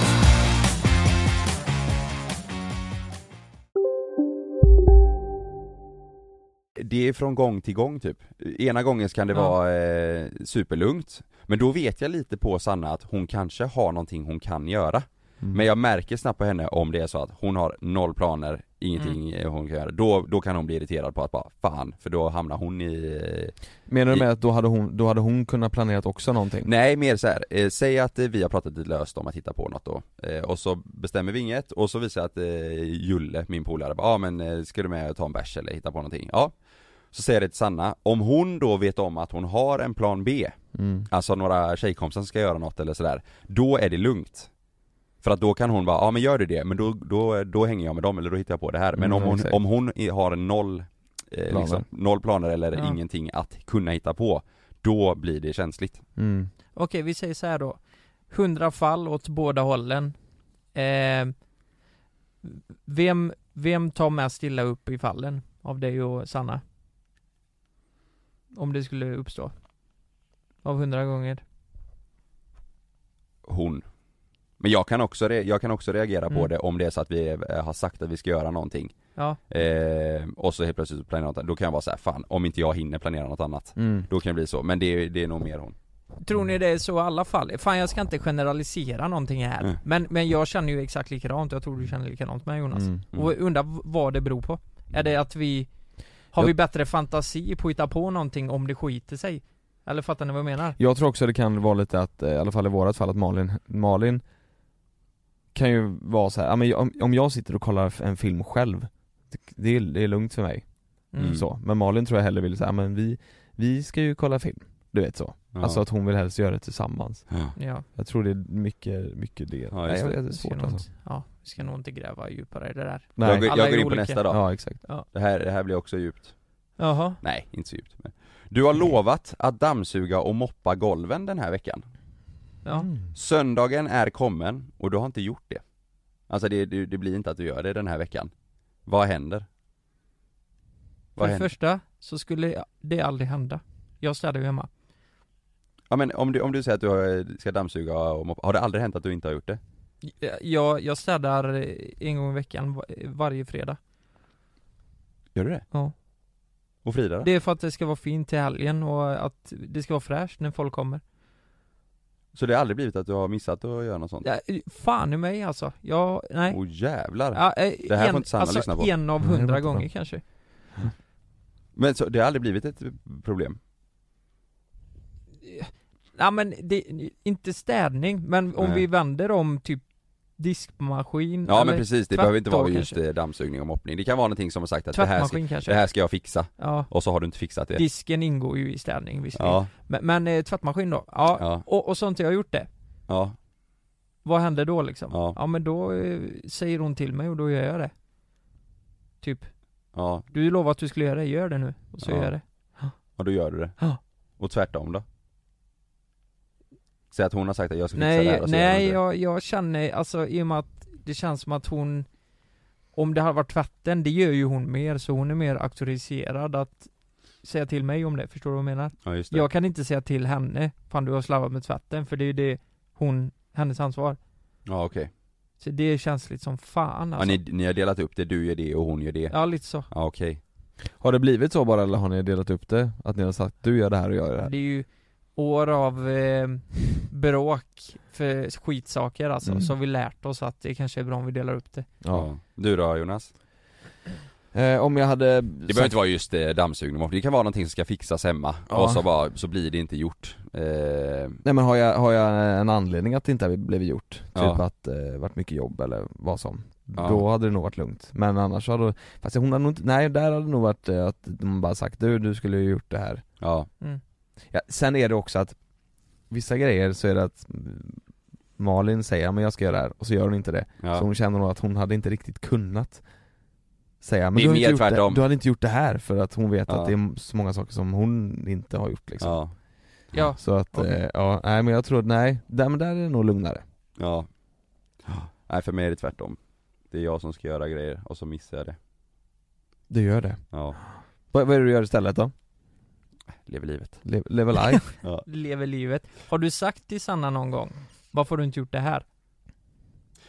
[SPEAKER 3] det är från gång till gång typ. Ena gången kan det
[SPEAKER 4] Ja.
[SPEAKER 3] vara eh, superlugnt, men då vet jag lite på Sanna att hon kanske har någonting hon kan göra. Men jag märker snabbt på henne om det är så att hon har noll planer, ingenting eh, hon kan göra. Då, då kan hon bli irriterad på att bara fan, för då hamnar hon i eh,
[SPEAKER 2] Menar du med att då hade hon, då hade hon kunnat planerat också någonting?
[SPEAKER 3] Nej, mer så här. Eh, säg att eh, vi har pratat lite löst om att hitta på något då. Eh, och så bestämmer vi inget och så visar jag att eh, Julle, min polare, bara, ja ah, men eh, ska du med och ta en bärs eller hitta på någonting? Ja. Så säger jag det till Sanna, om hon då vet om att hon har en plan B,
[SPEAKER 2] Mm.
[SPEAKER 3] alltså några tjejkompisar som ska göra något eller sådär, då är det lugnt. För att då kan hon bara, ja ah, men gör du det, men då, då, då hänger jag med dem eller då hittar jag på det här. Men
[SPEAKER 2] Mm,
[SPEAKER 3] om, hon,
[SPEAKER 2] exakt.
[SPEAKER 3] om hon i- har noll, eh, liksom,
[SPEAKER 2] Planer.
[SPEAKER 3] noll planer eller
[SPEAKER 4] Ja.
[SPEAKER 3] ingenting att kunna hitta på, då blir det känsligt.
[SPEAKER 2] Mm.
[SPEAKER 4] Okej, vi säger så här då. 100 fall åt båda hållen. Eh, vem, vem tar mest illa upp i fallen av dig och Sanna? Om det skulle uppstå. Av 100 gånger.
[SPEAKER 3] Hon Men jag kan också, re- jag kan också reagera på
[SPEAKER 4] Mm.
[SPEAKER 3] det om det är så att vi eh, har sagt att vi ska göra någonting
[SPEAKER 4] Ja.
[SPEAKER 3] eh, Och så helt plötsligt så planerar jag något annat. då kan jag vara så här, fan om inte jag hinner planera något annat
[SPEAKER 4] Mm.
[SPEAKER 3] Då kan det bli så, men det, är- det är nog mer hon
[SPEAKER 4] Tror ni det är så i alla fall? Fan jag ska inte generalisera någonting här
[SPEAKER 3] Nej.
[SPEAKER 4] men, men jag känner ju exakt likadant, jag tror du känner likadant med Jonas
[SPEAKER 2] Mm, mm.
[SPEAKER 4] Och undrar v- vad det beror på? Är det att vi Har
[SPEAKER 2] Jag-
[SPEAKER 4] vi bättre fantasi på att hitta på någonting om det skiter sig? Eller fattar ni vad jag menar?
[SPEAKER 2] Jag tror också det kan vara lite att, eh, i alla fall i vårat fall, att Malin, Malin kan ju vara så här, ja, men jag- om- om jag sitter och kollar f- en film själv, det- det är, det är lugnt för mig.
[SPEAKER 3] Mm.
[SPEAKER 2] Så. Men Malin tror jag hellre vill säga, men vi, vi ska ju kolla film. Du vet så.
[SPEAKER 3] Ja.
[SPEAKER 2] Alltså att hon vill helst göra det tillsammans.
[SPEAKER 4] Ja.
[SPEAKER 2] Jag tror det är mycket, mycket det.
[SPEAKER 3] Ja,
[SPEAKER 2] Nej,
[SPEAKER 3] just
[SPEAKER 2] jag
[SPEAKER 3] det.
[SPEAKER 2] vet, det är
[SPEAKER 4] Vi ska
[SPEAKER 2] svårt
[SPEAKER 4] nog
[SPEAKER 2] alltså.
[SPEAKER 4] inte- Ja, vi ska nog inte gräva djupare i det där
[SPEAKER 2] Nej.
[SPEAKER 3] Jag går,
[SPEAKER 4] Alla
[SPEAKER 3] jag
[SPEAKER 4] är
[SPEAKER 3] går in på
[SPEAKER 4] olika.
[SPEAKER 3] nästa dag
[SPEAKER 2] Ja, exakt.
[SPEAKER 4] Ja.
[SPEAKER 3] det, här, det här blir också djupt
[SPEAKER 4] Jaha,
[SPEAKER 3] Nej, inte så djupt men. Du har lovat att dammsuga och moppa golven den här veckan
[SPEAKER 4] ja
[SPEAKER 3] Söndagen är kommen och du har inte gjort det Alltså det, det, det blir inte att du gör det den här veckan Vad händer?
[SPEAKER 4] För
[SPEAKER 3] Vad
[SPEAKER 4] det
[SPEAKER 3] händer?
[SPEAKER 4] första så skulle det aldrig hända Jag städar ju hemma
[SPEAKER 3] Ja men om du, om du säger att du har- ska dammsuga och moppa, har det aldrig hänt att du inte har gjort det?
[SPEAKER 4] Jag, jag städar eh, en gång i veckan va- varje fredag
[SPEAKER 3] Gör du det?
[SPEAKER 4] Ja
[SPEAKER 3] Och Frida då?
[SPEAKER 4] Det är för att det ska vara fint till helgen och att det ska vara fräscht när folk kommer.
[SPEAKER 3] Så det har aldrig blivit att du har missat att göra något sånt?
[SPEAKER 4] Ja, fan i mig alltså. Jag, nej.
[SPEAKER 3] Åh jävlar!
[SPEAKER 4] Ja, eh,
[SPEAKER 3] det här
[SPEAKER 4] en,
[SPEAKER 3] får inte Sanna
[SPEAKER 4] alltså,
[SPEAKER 3] lyssna på
[SPEAKER 4] en av
[SPEAKER 2] Nej, det var
[SPEAKER 4] hundra
[SPEAKER 2] inte bra.
[SPEAKER 4] gånger kanske.
[SPEAKER 3] Men så, det har aldrig blivit ett problem?
[SPEAKER 4] Ja men det, inte städning, men om
[SPEAKER 3] Nej.
[SPEAKER 4] vi vänder om typ diskmaskin
[SPEAKER 3] Ja
[SPEAKER 4] eller
[SPEAKER 3] men precis, det
[SPEAKER 4] tvätt
[SPEAKER 3] behöver inte
[SPEAKER 4] då
[SPEAKER 3] vara just
[SPEAKER 4] kanske.
[SPEAKER 3] eh, dammsugning och moppning, det kan vara någonting som har sagt att det här,
[SPEAKER 4] Tvättmaskin
[SPEAKER 3] ska,
[SPEAKER 4] kanske.
[SPEAKER 3] det här ska jag fixa
[SPEAKER 4] Ja.
[SPEAKER 3] och så har du inte fixat det
[SPEAKER 4] Disken ingår ju i städning visserligen.
[SPEAKER 3] Ja,
[SPEAKER 4] Men, men eh, tvättmaskin då? Ja.
[SPEAKER 3] Ja.
[SPEAKER 4] Och, och så har inte jag gjort det.
[SPEAKER 3] ja,
[SPEAKER 4] Vad händer då liksom?
[SPEAKER 3] Ja.
[SPEAKER 4] men då eh, säger hon till mig och då gör jag det. Typ.
[SPEAKER 3] ja,
[SPEAKER 4] Du lovade att du skulle göra det, gör det nu. Och så
[SPEAKER 3] Ja.
[SPEAKER 4] gör jag det.
[SPEAKER 3] och då gör du det
[SPEAKER 4] Ja.
[SPEAKER 3] Och tvärtom då? Säg att hon har sagt att jag ska fixa det här och
[SPEAKER 4] Nej,
[SPEAKER 3] så gör hon
[SPEAKER 4] nej
[SPEAKER 3] inte det.
[SPEAKER 4] jag, jag känner, alltså i och med att det känns som att hon Om det hade varit tvätten, det gör ju hon mer, så hon är mer auktoriserad att Säga till mig om det, förstår du vad jag menar?
[SPEAKER 3] Ja just det,
[SPEAKER 4] Jag kan inte säga till henne, fan du har slarvat med tvätten, för det är ju det hon, hennes ansvar
[SPEAKER 3] ja okej
[SPEAKER 4] Så det är känsligt som fan
[SPEAKER 3] ja,
[SPEAKER 4] alltså.
[SPEAKER 3] ni, ni har delat upp det, du gör det och hon gör det?
[SPEAKER 4] Ja lite så,
[SPEAKER 3] Ja, okej
[SPEAKER 2] Har det blivit så bara eller har ni delat upp det? Att ni har sagt du gör det här och jag gör det här?
[SPEAKER 4] det är ju år av eh, bråk för skitsaker alltså,
[SPEAKER 2] Mm.
[SPEAKER 4] så har vi lärt oss att det kanske är bra om vi delar upp det
[SPEAKER 2] Ja.
[SPEAKER 3] Du då Jonas?
[SPEAKER 2] Eh, om jag hade
[SPEAKER 3] Det behöver inte vara just eh, dammsugning och moppning. det kan vara någonting som ska fixas hemma
[SPEAKER 2] Ja.
[SPEAKER 3] och så bara, så blir det inte gjort eh,
[SPEAKER 2] Nej men har jag, har jag en anledning att det inte har blivit gjort? Typ
[SPEAKER 3] Ja.
[SPEAKER 2] att det eh, varit mycket jobb eller vad som
[SPEAKER 3] Ja.
[SPEAKER 2] Då hade det nog varit lugnt, men annars hade Fast hon hade nog inte, nej där hade det nog varit eh, att de bara sagt du, du skulle ju gjort det här
[SPEAKER 3] Ja,
[SPEAKER 2] ja, Sen är det också att Vissa grejer så är det att mm, Malin säger "Ja, men jag ska göra det här och så gör hon inte det
[SPEAKER 3] Ja.
[SPEAKER 2] Så hon känner nog att hon hade inte riktigt kunnat Säga men
[SPEAKER 3] Det är
[SPEAKER 2] du har,
[SPEAKER 3] mer
[SPEAKER 2] inte gjort det,
[SPEAKER 3] tvärtom."
[SPEAKER 2] du hade inte gjort det här för att hon vet
[SPEAKER 3] Ja.
[SPEAKER 2] att det är så många saker som hon inte har gjort liksom
[SPEAKER 3] ja,
[SPEAKER 4] Ja,
[SPEAKER 2] Så att,
[SPEAKER 4] Okej.
[SPEAKER 2] eh, ja, nej men jag tror, nej, där, men där är det nog lugnare
[SPEAKER 3] ja Nej för mig är det tvärtom Det är jag som ska göra grejer och så missar jag det
[SPEAKER 2] Det gör det
[SPEAKER 3] Ja,
[SPEAKER 2] Vad, vad är det du gör istället då?
[SPEAKER 3] lever livet
[SPEAKER 2] Le- level life?
[SPEAKER 3] ja.
[SPEAKER 4] lever livet. Har du sagt till Sanna någon gång, varför har du inte gjort det här?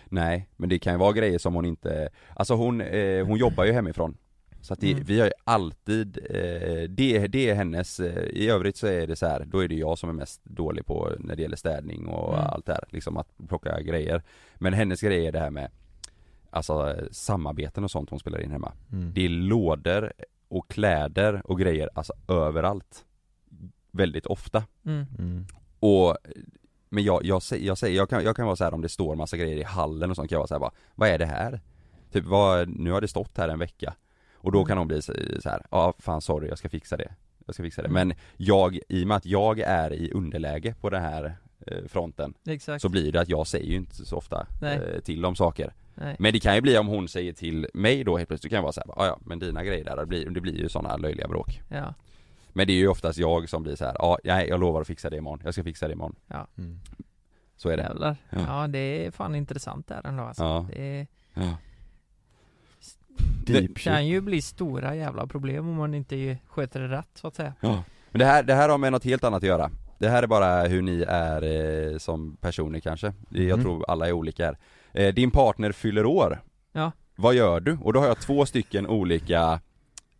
[SPEAKER 3] Nej, men det kan ju vara grejer som hon inte Alltså hon, eh, hon jobbar ju hemifrån Så att det,
[SPEAKER 4] Mm.
[SPEAKER 3] vi har ju alltid eh, det, det är hennes, eh, i övrigt så är det så här, då är det jag som är mest dålig på när det gäller städning och
[SPEAKER 4] Mm.
[SPEAKER 3] allt det här, liksom att plocka grejer Men hennes grej är det här med Alltså eh, samarbeten och sånt hon spelar in hemma
[SPEAKER 2] Mm.
[SPEAKER 3] Det är lådor och kläder och grejer, alltså överallt Väldigt ofta
[SPEAKER 4] Mm.
[SPEAKER 2] Mm.
[SPEAKER 3] och, men jag, jag, säger, jag, säger jag, kan, jag kan vara så här om det står massa grejer i hallen och sånt kan jag vara så här bara, vad är det här? Typ vad, nu har det stått här en vecka Och
[SPEAKER 4] Mm.
[SPEAKER 3] då kan hon bli så så här, ja fan sorry jag ska fixa det Jag ska fixa det,
[SPEAKER 4] Mm.
[SPEAKER 3] men jag, i och med att jag är i underläge på den här eh, fronten
[SPEAKER 4] Exakt.
[SPEAKER 3] Så blir det att jag säger ju inte så ofta
[SPEAKER 4] Nej.
[SPEAKER 3] eh, till om saker
[SPEAKER 4] Nej.
[SPEAKER 3] Men det kan ju bli om hon säger till mig då helt plötsligt, då kan jag vara så här, bara, "Ah, "Ja, ja men dina grejer där, det blir, det blir ju sådana löjliga bråk
[SPEAKER 4] Ja,
[SPEAKER 3] Men det är ju oftast jag som blir så här, ja nej jag lovar att fixa det imorgon, jag ska fixa det imorgon
[SPEAKER 4] ja.
[SPEAKER 2] Mm.
[SPEAKER 3] Så är det
[SPEAKER 4] Jävlar.
[SPEAKER 3] Ja.
[SPEAKER 4] Ja, det är fan intressant där ändå alltså.
[SPEAKER 3] Ja.
[SPEAKER 4] Det
[SPEAKER 3] Ja.
[SPEAKER 2] Deep
[SPEAKER 4] kan
[SPEAKER 2] shit
[SPEAKER 4] ju bli stora jävla problem om man inte sköter det rätt så att säga.
[SPEAKER 3] Men det här, det här har med något helt annat att göra Det här är bara hur ni är eh, som personer kanske. Jag
[SPEAKER 2] Mhm.
[SPEAKER 4] Mm.
[SPEAKER 3] tror alla är olika här. Eh, din partner fyller år.
[SPEAKER 4] Ja.
[SPEAKER 3] Vad gör du? Och då har jag två stycken olika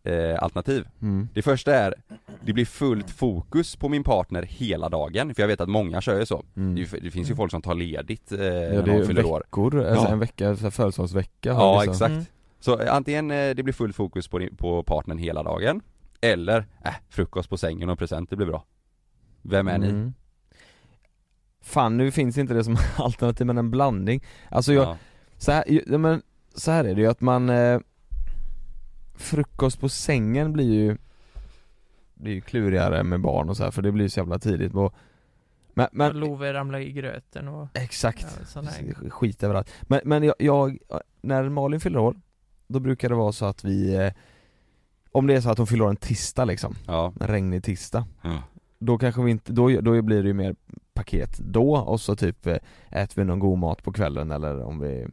[SPEAKER 3] eh, alternativ.
[SPEAKER 2] Mm.
[SPEAKER 3] Det första är, det blir fullt fokus på min partner hela dagen. För jag vet att många kör ju så.
[SPEAKER 2] Mm.
[SPEAKER 3] Det, är ju- det finns ju folk som tar ledigt eh,
[SPEAKER 2] Ja,
[SPEAKER 3] när
[SPEAKER 2] det är
[SPEAKER 3] någon fyller år.
[SPEAKER 2] veckor, alltså
[SPEAKER 3] Ja.
[SPEAKER 2] en vecka, så här födelsedagsvecka har
[SPEAKER 3] Ja
[SPEAKER 2] liksom.
[SPEAKER 3] exakt.
[SPEAKER 4] Mm.
[SPEAKER 3] Så eh, antingen eh, det blir fullt fokus på, din- på partnern hela dagen Eller, äh, frukost på sängen och present, det blir bra Vem är ni?
[SPEAKER 2] Mm. Fan nu finns inte det som alternativ men en blandning Alltså jag,
[SPEAKER 3] Ja.
[SPEAKER 2] så, här, ju- ja, men, så här är det ju att man eh, Frukost på sängen blir ju Blir ju klurigare med barn och så här för det blir ju så jävla tidigt och, men, men,
[SPEAKER 4] Love ramlar i gröten och...
[SPEAKER 2] Exakt.
[SPEAKER 4] Ja, sån här-
[SPEAKER 2] skit överallt Men, men jag, jag, när Malin fyller år Då brukar det vara så att vi eh, Om det är så att hon fyller år en tisdag liksom En regnig tisdag
[SPEAKER 3] Ja.
[SPEAKER 2] Då kanske vi inte, då, då blir det ju mer paket då och så typ eh, äter vi någon god mat på kvällen eller om vi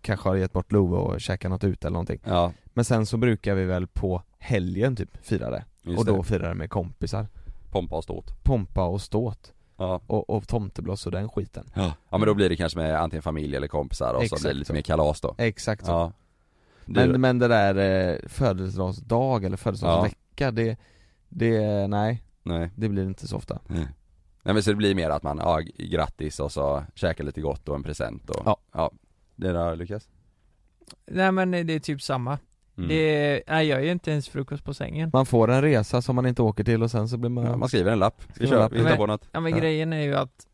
[SPEAKER 2] Kanske har gett bort Love och käkat något ute eller någonting
[SPEAKER 3] ja.
[SPEAKER 2] Men sen så brukar vi väl på helgen typ fira det
[SPEAKER 3] Just
[SPEAKER 2] Och då
[SPEAKER 3] det.
[SPEAKER 2] firar det med kompisar
[SPEAKER 3] Pompa och ståt
[SPEAKER 2] Pompa och ståt
[SPEAKER 3] ja.
[SPEAKER 2] och, och tomteblås och den skiten
[SPEAKER 3] ja men då blir det kanske med antingen familj eller kompisar och så
[SPEAKER 2] Exakt
[SPEAKER 3] blir det lite
[SPEAKER 2] så.
[SPEAKER 3] mer kalas då
[SPEAKER 2] Exakt så.
[SPEAKER 3] ja. Du-
[SPEAKER 2] Men, men det där eh, födelsedagsdag eller födelsedagsvecka, det, det, nej,
[SPEAKER 3] Nej.
[SPEAKER 2] det blir inte så ofta
[SPEAKER 3] Nej. Nej men så det blir mer att man, ja grattis och så käkar lite gott och en present och Ja, Det där Lukas?
[SPEAKER 4] Nej men det är typ samma.
[SPEAKER 3] Mm.
[SPEAKER 4] Det, nej jag gör inte ens frukost på sängen.
[SPEAKER 2] Man får en resa som man inte åker till och sen så blir man
[SPEAKER 3] Ja, man skriver en lapp. Vi
[SPEAKER 2] Skriver
[SPEAKER 3] kör,
[SPEAKER 2] en lapp.
[SPEAKER 3] vi hittar på något
[SPEAKER 4] Ja men grejen är ju att,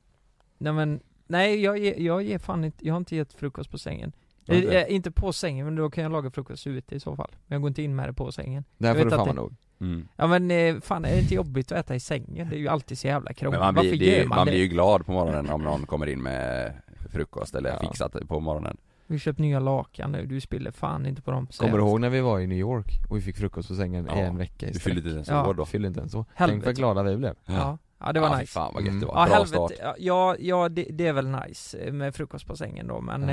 [SPEAKER 4] nej men, nej jag, ge- jag ger fan inte, jag har inte gett frukost på sängen.
[SPEAKER 2] Har du inte?
[SPEAKER 4] Eh, inte på sängen men då kan jag laga frukost ute i så fall. Men jag går inte in med det på sängen.
[SPEAKER 2] Det här
[SPEAKER 4] jag
[SPEAKER 2] får
[SPEAKER 4] vet
[SPEAKER 2] du
[SPEAKER 4] att
[SPEAKER 2] fan vara nog
[SPEAKER 3] Mm.
[SPEAKER 4] Ja men eh, fan är det inte jobbigt att äta i sängen? Det är ju alltid så jävla krångligt.
[SPEAKER 3] Men man blir,
[SPEAKER 4] Varför
[SPEAKER 3] det,
[SPEAKER 4] gör
[SPEAKER 3] man,
[SPEAKER 4] man, det?
[SPEAKER 3] blir ju glad på morgonen om någon kommer in med frukost eller fixat på morgonen
[SPEAKER 4] Vi har köpt nya lakan nu, du spiller fan inte på dem. säger
[SPEAKER 2] Kommer du
[SPEAKER 4] jag.
[SPEAKER 2] ihåg när vi var i New York och vi fick frukost på sängen i en vecka i
[SPEAKER 3] vi
[SPEAKER 2] sträck?
[SPEAKER 3] fyllde inte ens
[SPEAKER 4] Ja. år
[SPEAKER 3] då.
[SPEAKER 2] Fyllde inte ens år. Tänk
[SPEAKER 4] Helvete.
[SPEAKER 2] vad glada vi blev
[SPEAKER 4] Ja, ja det var
[SPEAKER 3] Ja, fy
[SPEAKER 4] nice. Mm.
[SPEAKER 3] fan, vad gött det var.
[SPEAKER 4] Ja,
[SPEAKER 3] Bra
[SPEAKER 4] helvete.
[SPEAKER 3] start.
[SPEAKER 4] Ja, ja det, det är väl nice eh, med frukost på sängen då men eh,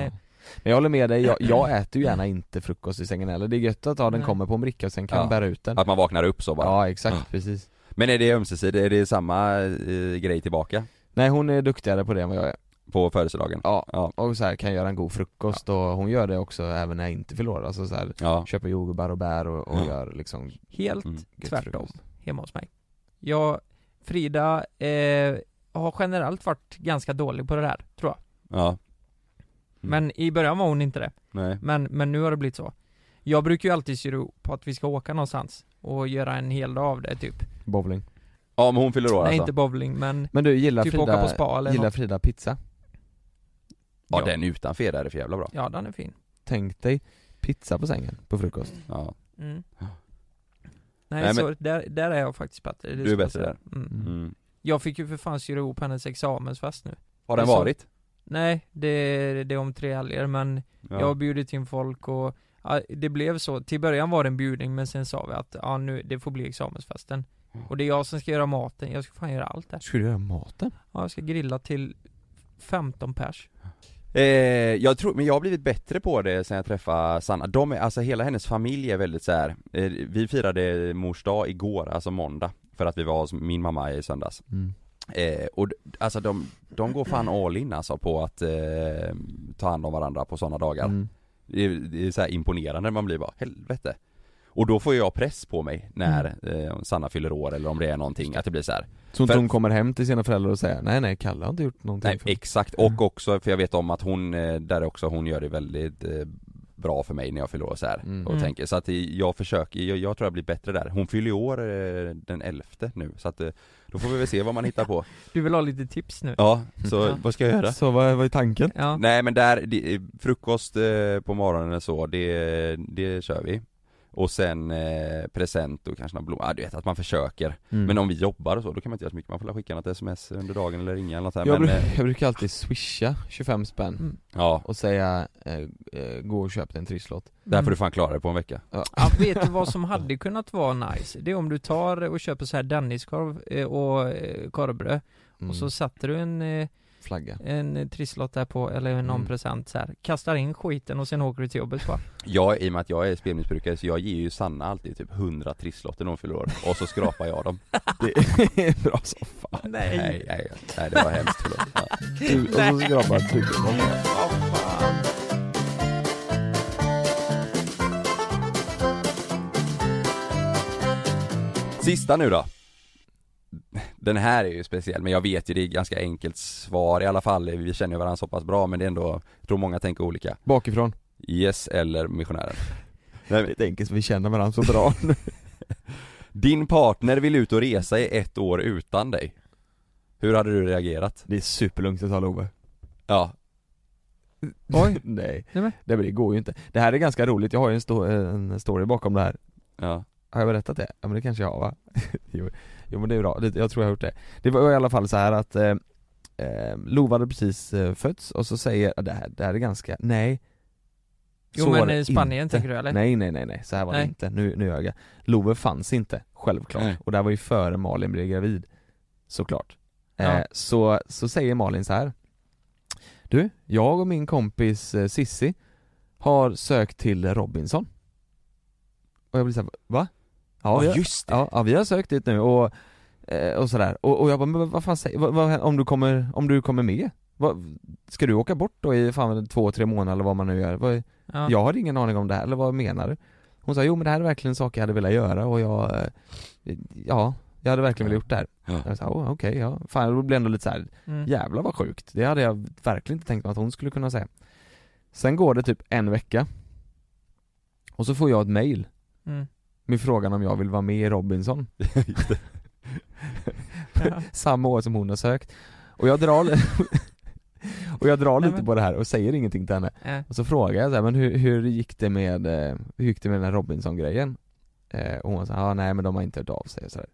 [SPEAKER 2] Men jag håller med dig, jag, jag äter ju gärna inte frukost i sängen heller, det är gött att ha den
[SPEAKER 4] Nej.
[SPEAKER 2] kommer på en bricka och sen kan
[SPEAKER 3] Ja.
[SPEAKER 2] man bära ut den
[SPEAKER 3] Att man vaknar upp så bara
[SPEAKER 2] Ja exakt, precis
[SPEAKER 3] Men är det ömsesidigt, är det samma eh, grej tillbaka?
[SPEAKER 2] Nej hon är duktigare på det än vad jag är
[SPEAKER 3] På födelsedagen?
[SPEAKER 2] Ja, och så här kan göra en god frukost och hon gör det också även när jag inte fyller år. alltså så här, köper jordgubbar och bär och, och
[SPEAKER 4] Ja.
[SPEAKER 2] gör liksom
[SPEAKER 4] helt
[SPEAKER 2] Mm. Gött
[SPEAKER 4] tvärtom
[SPEAKER 2] frukost.
[SPEAKER 4] hemma hos mig. Jag, Frida, eh, har generellt varit ganska dålig på det där, tror jag.
[SPEAKER 3] Ja
[SPEAKER 4] Men i början var hon inte det.
[SPEAKER 3] Nej.
[SPEAKER 4] Men, men nu har det blivit så. Jag brukar ju alltid styra upp på att vi ska åka någonstans och göra en hel dag av det typ.
[SPEAKER 2] bowling
[SPEAKER 3] Ja men hon fyller år
[SPEAKER 4] Nej
[SPEAKER 3] alltså?
[SPEAKER 4] inte bowling men
[SPEAKER 2] Men du, gillar
[SPEAKER 4] typ
[SPEAKER 2] Frida,
[SPEAKER 4] åka på spa eller
[SPEAKER 2] gillar
[SPEAKER 4] något.
[SPEAKER 2] Frida pizza?
[SPEAKER 3] Ja, den utan feda är för jävla bra
[SPEAKER 4] Ja den är fin.
[SPEAKER 2] Tänk dig pizza på sängen på frukost
[SPEAKER 3] Ja
[SPEAKER 4] Mm.
[SPEAKER 2] Nej,
[SPEAKER 4] Nej,
[SPEAKER 2] men-
[SPEAKER 4] så där, där är jag faktiskt bättre. Det
[SPEAKER 3] Du är
[SPEAKER 4] ska jag
[SPEAKER 3] bättre
[SPEAKER 4] säga.
[SPEAKER 3] där.
[SPEAKER 4] Mm.
[SPEAKER 3] Mm.
[SPEAKER 4] Jag fick ju för fan styra ihop hennes examensfest nu.
[SPEAKER 3] Har den
[SPEAKER 4] Det är så-
[SPEAKER 3] varit?
[SPEAKER 4] Nej, det, det är om tre helger men
[SPEAKER 3] Ja.
[SPEAKER 4] jag har bjudit in folk och ja, det blev så. Till början var det en bjudning men sen sa vi att ja, nu, det får bli examensfesten.
[SPEAKER 3] Mm.
[SPEAKER 4] Och det är jag som ska göra maten, jag ska fan göra allt där.
[SPEAKER 2] Ska du göra maten?
[SPEAKER 4] Ja, jag ska grilla till 15 pers.
[SPEAKER 3] Eh, jag tror, men jag har blivit bättre på det sen jag träffade Sanna. De är, alltså hela hennes familj är väldigt så här. Eh, vi firade mors dag igår, alltså måndag, för att vi var hos min mamma i söndags.
[SPEAKER 2] Mm.
[SPEAKER 3] Eh, och d- alltså de, de går fan all in alltså på att eh, ta hand om varandra på sådana dagar.
[SPEAKER 2] Mm.
[SPEAKER 3] Det, är, det är så här imponerande, man blir bara helvete. Och då får jag press på mig när eh, Sanna fyller år eller om det är någonting, att det blir så här.
[SPEAKER 2] Så inte
[SPEAKER 3] För-
[SPEAKER 2] hon kommer hem till sina föräldrar och säger nej nej Kalle har inte gjort någonting
[SPEAKER 3] Nej,
[SPEAKER 2] för mig."
[SPEAKER 3] exakt, och också för jag vet om att hon, eh, där också, hon gör det väldigt eh, bra för mig när jag fyller år så här
[SPEAKER 2] Mm.
[SPEAKER 3] och
[SPEAKER 2] Mm.
[SPEAKER 3] tänker så att jag försöker, jag, jag tror jag blir bättre där. Hon fyller ju år eh, den 11 nu så att eh, då får vi väl se vad man hittar på.
[SPEAKER 4] Du vill ha lite tips nu?
[SPEAKER 3] Ja, så vad ska jag göra?
[SPEAKER 2] Mm. Så vad, vad är tanken?
[SPEAKER 4] Ja.
[SPEAKER 3] Nej men där, det, frukost eh, på morgonen och så, det, det kör vi. Och sen eh, present och kanske några blommor, ah, du vet att man försöker.
[SPEAKER 2] Mm.
[SPEAKER 3] Men om vi jobbar och så, då kan man inte göra så mycket, man får skicka något sms under dagen eller ringa eller något här,
[SPEAKER 2] Jag,
[SPEAKER 3] men,
[SPEAKER 2] bru-
[SPEAKER 3] eh,
[SPEAKER 2] jag brukar alltid swisha 25 spänn
[SPEAKER 4] Mm.
[SPEAKER 3] Ja.
[SPEAKER 2] och säga eh, eh, gå och köp dig en trisslott
[SPEAKER 3] Där får Mm. du fan klara dig på en vecka.
[SPEAKER 2] ja.
[SPEAKER 4] Ja, vet du vad som hade kunnat vara nice? Det är om du tar och köper så här Denniskorv eh, och eh, korvbröd
[SPEAKER 2] Mm.
[SPEAKER 4] och så sätter du en eh,
[SPEAKER 2] flagga.
[SPEAKER 4] en eh, trisslott där på, eller någon
[SPEAKER 2] Mm.
[SPEAKER 4] present så här. kastar in skiten och sen åker du till jobbet bara.
[SPEAKER 3] Jag, i och med att jag är spelmissbrukare, så jag ger ju Sanna alltid typ 100 trisslotter när hon fyller år, och så skrapar jag dem
[SPEAKER 2] Det är bra som fan
[SPEAKER 4] Nej.
[SPEAKER 3] Nej, nej, nej det var hemskt, förlåt ja.
[SPEAKER 2] Du, och så skrapar du
[SPEAKER 3] Sista nu då. Den här är ju speciell, men jag vet ju det är ganska enkelt svar i alla fall. Vi känner ju varandra så pass bra, men det är ändå, jag tror många tänker olika.
[SPEAKER 2] Bakifrån.
[SPEAKER 3] Yes eller missionären.
[SPEAKER 2] Det är enkelt, vi känner varandra så bra nu.
[SPEAKER 3] Din partner vill ut och resa i ett år utan dig. Hur hade du reagerat?
[SPEAKER 2] Det är superlugnt att ta Love.
[SPEAKER 3] Ja,
[SPEAKER 2] Oj. Nej.
[SPEAKER 4] Nej, men.
[SPEAKER 2] Nej men det går ju inte. Det här är ganska roligt, jag har ju en, sto- en story bakom det här.
[SPEAKER 3] Ja.
[SPEAKER 2] Har jag berättat det? Ja men det kanske jag har va? jo. jo men det är bra, det, jag tror jag har gjort det. Det var i alla fall så här att eh, eh, Lova hade precis eh, fötts och så säger, ja, det här, det här är ganska, nej
[SPEAKER 4] Jo,
[SPEAKER 2] Så
[SPEAKER 4] men
[SPEAKER 2] var det
[SPEAKER 4] i Spanien
[SPEAKER 2] inte.
[SPEAKER 4] tänker du, eller?
[SPEAKER 2] Nej nej nej nej, så här var det
[SPEAKER 4] Nej.
[SPEAKER 2] inte, nu, nu ljög jag. Love fanns inte, självklart.
[SPEAKER 3] Nej.
[SPEAKER 2] Och det här var ju före Malin blev gravid, såklart. Eh,
[SPEAKER 4] Ja.
[SPEAKER 2] så, så säger Malin så här. Du, jag och min kompis eh, Sissi har sökt till Robinson Och jag blir såhär, va?
[SPEAKER 3] Ja,
[SPEAKER 2] vi har,
[SPEAKER 3] just
[SPEAKER 2] Ja, ja, vi har sökt dit nu och, eh, och sådär, och, och jag bara, men vad fan säger, vad, vad, om, du kommer, om du kommer med? Vad, ska du åka bort då i fan två, tre månader eller vad man nu gör? Vad,
[SPEAKER 4] Ja.
[SPEAKER 2] Jag har ingen aning om det här, eller vad menar du? Hon sa, jo men det här är verkligen saker jag hade velat göra och jag, eh, ja, jag hade verkligen velat gjort det här
[SPEAKER 3] Ja.
[SPEAKER 2] Jag sa, oh, okej, ja, fan det blev ändå lite såhär,
[SPEAKER 4] Mm.
[SPEAKER 2] jävlar vad sjukt, det hade jag verkligen inte tänkt mig att hon skulle kunna säga Sen går det typ en vecka Och så får jag ett mail
[SPEAKER 4] Mm.
[SPEAKER 2] med frågan om jag vill vara med i Robinson
[SPEAKER 3] just det.
[SPEAKER 2] samma år som hon har sökt Och jag drar Och jag drar lite på det här och säger ingenting till henne
[SPEAKER 4] Äh.
[SPEAKER 2] Och så frågar jag så här, men hur, hur gick det med, eh, hur gick det med den här Robinson-grejen? Eh, och hon sa, ah, nej men de har inte hört av sig och sådär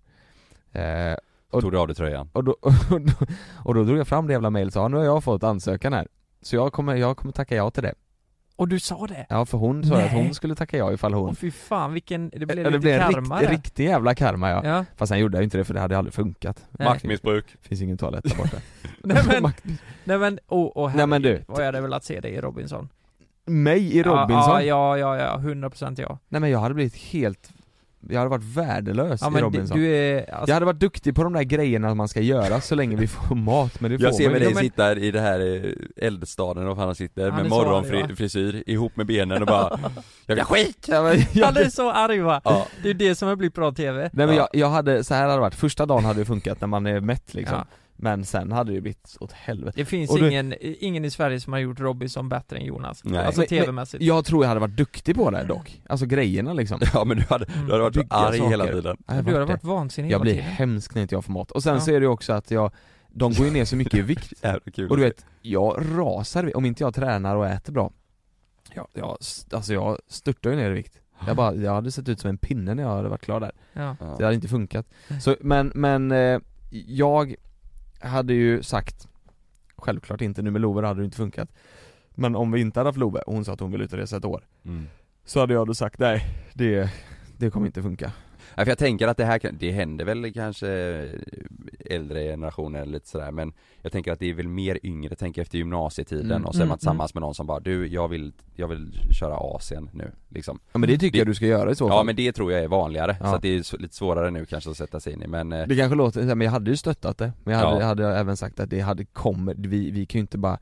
[SPEAKER 2] eh, och,
[SPEAKER 3] Tog du av dig tröjan?
[SPEAKER 2] och, då, och, då, och då drog jag fram det jävla mejlet och sa, ah, nu har jag fått ansökan här Så jag kommer, jag kommer tacka ja till det
[SPEAKER 4] Och du sa det?
[SPEAKER 2] Ja för hon sa ju att
[SPEAKER 4] Nej.
[SPEAKER 2] hon skulle tacka ja ifall hon
[SPEAKER 4] Åh fy fan vilken, det blev
[SPEAKER 2] Ja,
[SPEAKER 4] lite
[SPEAKER 2] en
[SPEAKER 4] karma
[SPEAKER 2] rikt,
[SPEAKER 4] där.
[SPEAKER 2] riktig jävla karma ja.
[SPEAKER 4] Ja.
[SPEAKER 2] Fast sen gjorde jag ju inte det för det hade aldrig funkat
[SPEAKER 4] Nej.
[SPEAKER 3] Maktmissbruk.
[SPEAKER 2] Finns ingen toalett där borta
[SPEAKER 4] Nej men, nej men, åh, åh
[SPEAKER 2] Nej, men du.
[SPEAKER 4] herregud, vad jag hade velat se dig i Robinson
[SPEAKER 2] Mig i Robinson?
[SPEAKER 4] Ja, ja, ja, ja, 100% ja
[SPEAKER 2] Nej men jag hade blivit helt, jag hade varit värdelös
[SPEAKER 4] Ja
[SPEAKER 2] i
[SPEAKER 4] men du,
[SPEAKER 2] Robinson
[SPEAKER 4] du är, alltså,
[SPEAKER 2] Jag hade varit duktig på de där grejerna man ska göra så länge vi får mat, men det får
[SPEAKER 3] Jag ser
[SPEAKER 2] man
[SPEAKER 3] med
[SPEAKER 2] ju
[SPEAKER 3] dig
[SPEAKER 2] inte.
[SPEAKER 3] sitta i det här eh, eldstaden, och han sitter
[SPEAKER 4] Han är
[SPEAKER 3] med
[SPEAKER 4] så arg, va?
[SPEAKER 3] morgonfrisyr ihop med benen och bara Jag vill ha skit!
[SPEAKER 2] Ja, men jag,
[SPEAKER 4] Han är så arg va?
[SPEAKER 3] Ja.
[SPEAKER 4] Det är det som har blivit bra TV
[SPEAKER 2] Nej men jag, jag hade, så här hade det varit, första dagen hade det funkat när man är mätt liksom
[SPEAKER 4] Ja.
[SPEAKER 2] Men sen hade det blivit åt helvete
[SPEAKER 4] Det finns
[SPEAKER 2] Och du-
[SPEAKER 4] ingen, ingen i Sverige som har gjort Robinson bättre än Jonas
[SPEAKER 3] Nej.
[SPEAKER 4] Alltså
[SPEAKER 2] Men- men
[SPEAKER 4] TV-mässigt
[SPEAKER 2] Jag tror jag hade varit duktig på det dock, alltså grejerna liksom
[SPEAKER 3] Ja men du hade, du hade varit så
[SPEAKER 2] Bygga
[SPEAKER 3] arg hela
[SPEAKER 2] saker.
[SPEAKER 3] tiden
[SPEAKER 2] Ja, jag
[SPEAKER 4] Du har
[SPEAKER 2] det.
[SPEAKER 4] varit vansinnig
[SPEAKER 2] Jag
[SPEAKER 4] hela
[SPEAKER 2] blir
[SPEAKER 4] tiden.
[SPEAKER 2] hemsk när inte jag får mat, och sen
[SPEAKER 4] Ja.
[SPEAKER 2] så är det ju också att jag, de går ju ner så mycket i vikt
[SPEAKER 3] Jävla kul
[SPEAKER 2] Och du
[SPEAKER 3] att
[SPEAKER 2] vet, jag rasar, vid- om inte jag tränar och äter bra jag, jag, st- Alltså jag störtar ju ner i vikt jag, bara, jag hade sett ut som en pinne när jag hade varit klar där
[SPEAKER 4] Ja.
[SPEAKER 3] se.
[SPEAKER 2] Det
[SPEAKER 3] ja.
[SPEAKER 2] hade inte funkat. Så, men, men eh, jag hade ju sagt, självklart inte, nu med Love hade det inte funkat. Men om vi inte hade haft Love, och hon sa att hon vill ut och resa ett år,
[SPEAKER 3] mm.
[SPEAKER 2] så hade jag då sagt nej, det, det kommer inte funka.
[SPEAKER 3] Ja, för jag tänker att det här kan, det händer väl kanske eh, äldre generationer eller lite sådär men Jag tänker att det är väl mer yngre, tänk efter gymnasietiden
[SPEAKER 2] Mm.
[SPEAKER 3] och så är
[SPEAKER 4] Mm,
[SPEAKER 3] man tillsammans med någon som bara du, jag vill, jag vill köra Asien nu liksom
[SPEAKER 2] Ja men det tycker
[SPEAKER 3] Det-
[SPEAKER 2] jag du ska göra i så fall.
[SPEAKER 3] Ja men det tror jag är vanligare,
[SPEAKER 2] Ja.
[SPEAKER 3] så att det är så- lite svårare nu kanske att sätta sig in i men eh,
[SPEAKER 2] Det kanske låter, men jag hade ju stöttat det, men jag hade,
[SPEAKER 3] Ja.
[SPEAKER 2] hade jag även sagt att det hade kommit, vi, vi kan ju inte bara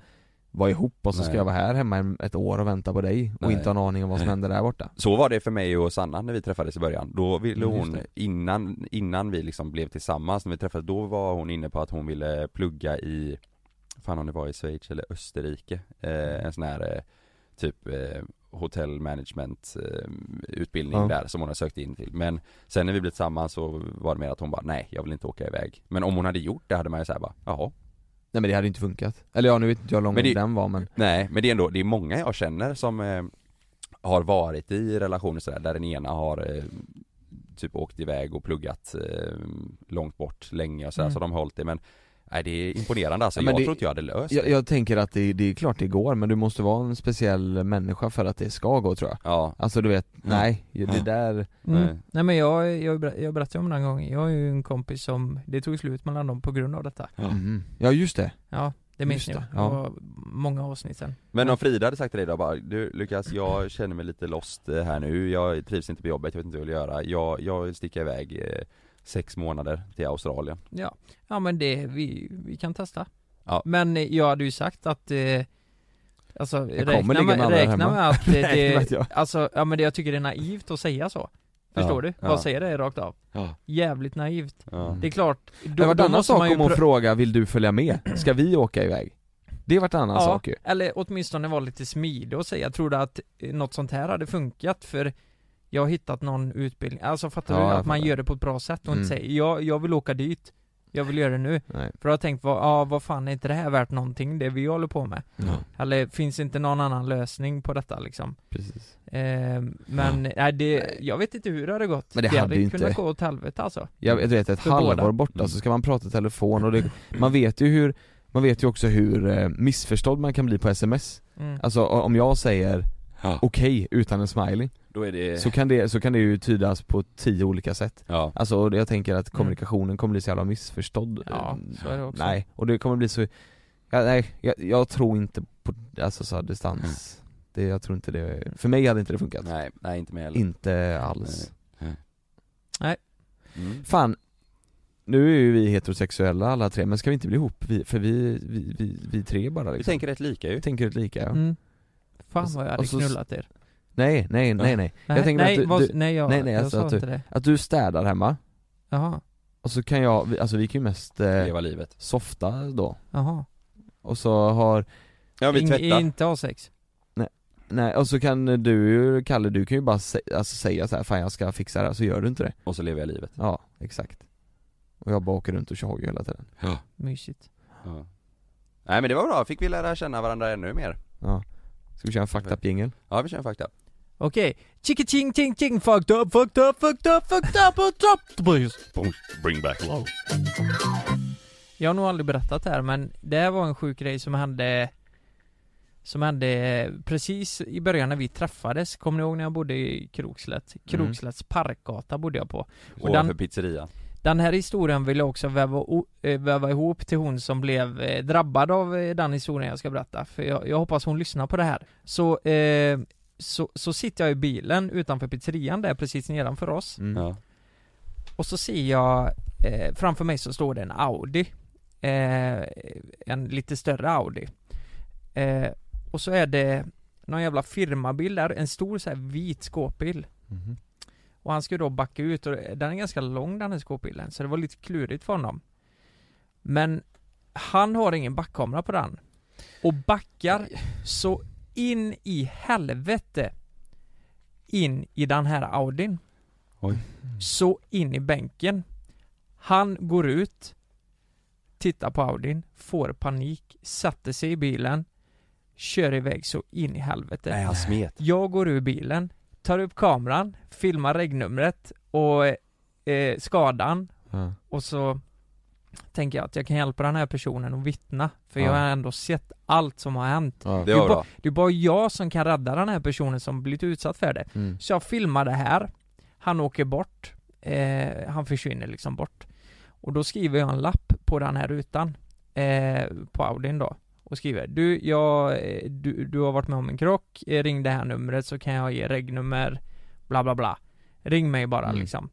[SPEAKER 2] vara ihop och så ska
[SPEAKER 3] Nej.
[SPEAKER 2] jag vara här hemma en- ett år och vänta på dig och
[SPEAKER 3] Nej.
[SPEAKER 2] inte ha en aning om vad som
[SPEAKER 3] Nej.
[SPEAKER 2] händer där borta.
[SPEAKER 3] Så var det för mig och Sanna när vi träffades i början. Då ville
[SPEAKER 2] Mm, just
[SPEAKER 3] hon, innan, innan vi liksom blev tillsammans, när vi träffades, då var hon inne på att hon ville plugga i, fan om det var i Schweiz eller Österrike,
[SPEAKER 2] Mm.
[SPEAKER 3] eh, en sån här eh, typ eh, hotellmanagement eh, utbildning
[SPEAKER 2] Ja.
[SPEAKER 3] där som hon har sökt in till. Men sen när vi blev tillsammans så var det mer att hon bara nej, jag vill inte åka iväg. Men om hon hade gjort det hade man ju såhär bara, jaha.
[SPEAKER 2] Nej men det hade inte funkat. Eller ja, nu vet inte jag hur lång
[SPEAKER 3] Men det-
[SPEAKER 2] den var men
[SPEAKER 3] Nej, men det är ändå, det är många jag känner som eh, har varit i relationer sådär, där den ena har eh, typ åkt iväg och pluggat eh, långt bort länge och sådär,
[SPEAKER 4] Mm.
[SPEAKER 3] så de har hållit det men Nej det är imponerande alltså,
[SPEAKER 2] Ja, men
[SPEAKER 3] jag
[SPEAKER 2] det-
[SPEAKER 3] tror inte jag hade löst
[SPEAKER 2] Jag,
[SPEAKER 3] det
[SPEAKER 2] jag tänker att det, det är klart det går men du måste vara en speciell människa för att det ska gå tror jag
[SPEAKER 3] Ja,
[SPEAKER 2] Alltså du vet, nej, det
[SPEAKER 3] Ja.
[SPEAKER 2] där
[SPEAKER 4] Mm.
[SPEAKER 3] Nej.
[SPEAKER 4] Nej men jag, jag, ber- jag berättade om den här gången, jag har ju en kompis som, det tog slut mellan dem på grund av detta
[SPEAKER 2] Mhm. Mm. Ja just det,
[SPEAKER 4] Ja, Det minns
[SPEAKER 2] Just
[SPEAKER 4] jag.
[SPEAKER 2] det,
[SPEAKER 4] Det
[SPEAKER 2] ja.
[SPEAKER 4] var många avsnitt sen.
[SPEAKER 3] Men om Frida hade sagt till dig då bara, du Lukas jag känner mig lite lost eh, här nu, jag trivs inte på jobbet, jag vet inte vad jag vill göra, jag, jag vill sticka iväg eh, sex månader till Australien.
[SPEAKER 4] Ja, ja men det, vi, vi kan testa.
[SPEAKER 3] Ja.
[SPEAKER 4] Men eh, jag hade ju sagt att eh, Alltså
[SPEAKER 2] Jag kommer
[SPEAKER 4] räkna
[SPEAKER 2] ligga med
[SPEAKER 4] med,
[SPEAKER 2] alla där
[SPEAKER 4] räkna
[SPEAKER 2] hemma.
[SPEAKER 4] med att eh,
[SPEAKER 2] Räkna med
[SPEAKER 4] det,
[SPEAKER 2] att jag-
[SPEAKER 4] alltså, ja men det, jag tycker det är naivt att säga så Förstår
[SPEAKER 2] Ja,
[SPEAKER 4] du? Bara
[SPEAKER 2] ja.
[SPEAKER 4] säga det rakt av
[SPEAKER 3] Ja.
[SPEAKER 4] Jävligt naivt
[SPEAKER 3] Ja.
[SPEAKER 4] Det är klart, då,
[SPEAKER 2] det var
[SPEAKER 4] då
[SPEAKER 2] en annan
[SPEAKER 4] måste man
[SPEAKER 2] sak
[SPEAKER 4] ju
[SPEAKER 2] om hon
[SPEAKER 4] pro-
[SPEAKER 2] frågar, vill du följa med? Ska vi åka iväg? Det var en annan sak ju
[SPEAKER 4] eller åtminstone vara lite smidig och säga, tror du att eh, något sånt här hade funkat? För jag har hittat någon utbildning, alltså fattar
[SPEAKER 2] Ja,
[SPEAKER 4] du?
[SPEAKER 2] jag
[SPEAKER 4] Att man
[SPEAKER 2] fattar.
[SPEAKER 4] gör det på ett bra sätt och
[SPEAKER 2] Mm.
[SPEAKER 4] inte säger, jag, jag vill åka dit, jag vill göra det nu.
[SPEAKER 2] Nej.
[SPEAKER 4] För jag har tänkt, vad, ja, vad fan är inte det här värt någonting, det vi håller på med?
[SPEAKER 2] Ja.
[SPEAKER 4] Eller finns inte någon annan lösning på detta liksom?
[SPEAKER 2] Precis.
[SPEAKER 4] Eh, men nej, det, jag vet inte hur det hade gått.
[SPEAKER 2] Men det hade
[SPEAKER 4] hade
[SPEAKER 2] ju
[SPEAKER 4] kunnat
[SPEAKER 2] inte-
[SPEAKER 4] gå åt helvete alltså.
[SPEAKER 2] Jag jag vet ett
[SPEAKER 4] För
[SPEAKER 2] halvår
[SPEAKER 4] båda. Mm.
[SPEAKER 2] borta så ska man prata i telefon och det, man vet ju hur Man vet ju också hur eh, missförstådd man kan bli på sms
[SPEAKER 4] Mm.
[SPEAKER 2] Alltså o- om jag säger okej utan en smiley
[SPEAKER 3] Då är
[SPEAKER 4] Eh.
[SPEAKER 3] det-
[SPEAKER 2] så, kan det, så kan det ju tydas på tio olika sätt
[SPEAKER 3] Ja.
[SPEAKER 2] Alltså och jag tänker att kommunikationen kommer bli så jävla missförstådd
[SPEAKER 4] Mm. Ja,
[SPEAKER 2] Eh,
[SPEAKER 4] så är det också.
[SPEAKER 2] Nej, och det kommer bli så ja, Nej, jag, jag tror inte på, alltså så här, distans
[SPEAKER 4] Mm.
[SPEAKER 2] det, Jag tror inte det, för mig hade inte det funkat
[SPEAKER 3] Nej, nej inte med heller.
[SPEAKER 2] Inte alls
[SPEAKER 4] Nej.
[SPEAKER 3] Mm.
[SPEAKER 2] Fan, nu är ju vi heterosexuella alla tre, men ska vi inte bli ihop? Vi, för vi, vi, vi, vi tre bara liksom.
[SPEAKER 3] Vi tänker rätt lika ju.
[SPEAKER 2] Tänker rätt lika ja.
[SPEAKER 4] Mm. Fan
[SPEAKER 2] Och så-
[SPEAKER 4] vad jag hade
[SPEAKER 2] och så-
[SPEAKER 4] knullat er.
[SPEAKER 2] Nej, nej, nej, nej.
[SPEAKER 4] Nej,
[SPEAKER 2] tänker
[SPEAKER 4] nej,
[SPEAKER 2] att du,
[SPEAKER 4] vad-
[SPEAKER 2] du,
[SPEAKER 4] nej, jag-
[SPEAKER 2] nej, nej
[SPEAKER 4] jag
[SPEAKER 2] alltså
[SPEAKER 4] sa
[SPEAKER 2] att,
[SPEAKER 4] inte
[SPEAKER 2] du,
[SPEAKER 4] det.
[SPEAKER 2] att du städar hemma
[SPEAKER 4] Jaha.
[SPEAKER 2] Och så kan jag, vi- alltså vi kan ju mest eh,
[SPEAKER 3] Leva livet
[SPEAKER 2] Softa då
[SPEAKER 4] Jaha.
[SPEAKER 2] Och så har
[SPEAKER 4] In- inte ha sex.
[SPEAKER 2] Nej, nej, och så kan du, Kalle, du kan ju bara sä, alltså säga så här, fan jag ska fixa det här, så gör du inte det
[SPEAKER 3] Och så lever jag livet.
[SPEAKER 4] Mm.
[SPEAKER 2] Ja, exakt Och jag bara åker runt och tjohar hela tiden
[SPEAKER 3] Ja.
[SPEAKER 4] Mysigt.
[SPEAKER 3] Ja. Nej men det var bra, fick vi lära känna varandra ännu mer.
[SPEAKER 2] Ja Ska vi köra en fucked up jingel?
[SPEAKER 3] Ja vi kör en fakta.
[SPEAKER 4] Okej, chicka ching ching ching fucked up, fucked up, fucked up, fucked up, fucked up, please.
[SPEAKER 3] Bring back love.
[SPEAKER 4] Jag har nog aldrig berättat det här men det här var en sjuk grej som hände Som hände precis i början när vi träffades, kommer ni ihåg när jag bodde i
[SPEAKER 2] Mm.
[SPEAKER 4] Krokslätt? Krokslätts parkgata bodde jag på
[SPEAKER 3] Och
[SPEAKER 4] den-
[SPEAKER 3] för pizzeria.
[SPEAKER 4] den här historien vill jag också väva, o- eh, väva ihop till hon som blev eh, drabbad av eh, den historien jag ska berätta. För jag, jag hoppas hon lyssnar på det här. Så, eh, så, så sitter jag i bilen utanför pizzerian där precis nedanför oss.
[SPEAKER 2] Mm.
[SPEAKER 3] Mm. Ja.
[SPEAKER 4] Och så ser jag, eh, framför mig så står det en Audi. Eh, en lite större Audi. Eh, och så är det någon jävla firmabil där, en stor så här vit skåpbil. Och han skulle då backa ut och eh, den är ganska lång den här skåpbilen så det var lite klurigt för honom. Men han har ingen backkamera på den. Och backar så in i helvete in i den här Audin.
[SPEAKER 3] Oj.
[SPEAKER 4] Så in i bänken. Han går ut, tittar på Audin, får panik, sätter sig i bilen, kör iväg så in i helvete.
[SPEAKER 3] Nej, han smet.
[SPEAKER 4] Jag går ur bilen, tar upp kameran, filmar regnumret och eh, skadan
[SPEAKER 2] Ja.
[SPEAKER 4] och så tänker jag att jag kan hjälpa den här personen att vittna för
[SPEAKER 2] Ja.
[SPEAKER 4] jag har ändå sett allt som har hänt.
[SPEAKER 2] Ja. Det
[SPEAKER 4] är
[SPEAKER 2] var
[SPEAKER 4] bara-
[SPEAKER 2] bra.
[SPEAKER 4] det är bara jag som kan rädda den här personen som blivit utsatt för det.
[SPEAKER 2] Mm.
[SPEAKER 4] Så jag filmar det här, han åker bort, eh, han försvinner liksom bort. Och då skriver jag en lapp på den här rutan, eh, på Audin då, och skriver du, jag, eh, du, du har varit med om en krock, eh, ring det här numret så kan jag ge regnummer, bla bla bla. Ring mig bara
[SPEAKER 2] Mm.
[SPEAKER 4] liksom.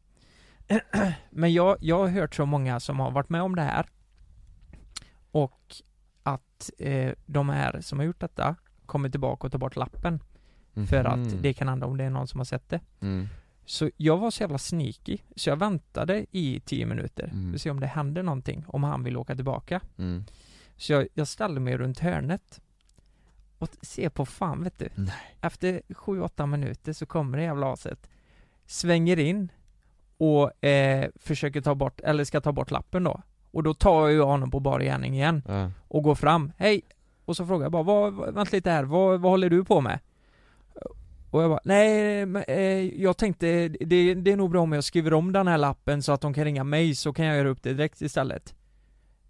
[SPEAKER 4] Men jag, jag har hört så många som har varit med om det här och att eh, de här som har gjort detta kommer tillbaka och tar bort lappen. För
[SPEAKER 2] Mhm.
[SPEAKER 4] att det kan hända om det är någon som har sett det.
[SPEAKER 2] Mm.
[SPEAKER 4] Så jag var så jävla sneaky, så jag väntade i 10 minuter för att se om det hände någonting, om han vill åka tillbaka.
[SPEAKER 2] Mm.
[SPEAKER 4] Så jag, jag ställde mig runt hörnet och t- ser på fan vet du. Efter 7-8 minuter så kommer det jävla aset, svänger in och eh, försöker ta bort, eller ska ta bort lappen då. Och då tar jag ju honom på bar gärning igen
[SPEAKER 2] Ja.
[SPEAKER 4] och går fram, hej! Och så frågar jag bara, vad, vad- vänta lite här, vad, vad håller du på med? Och jag bara, nej men, eh, jag tänkte, det, det är nog bra om jag skriver om den här lappen så att de kan ringa mig så kan jag göra upp det direkt istället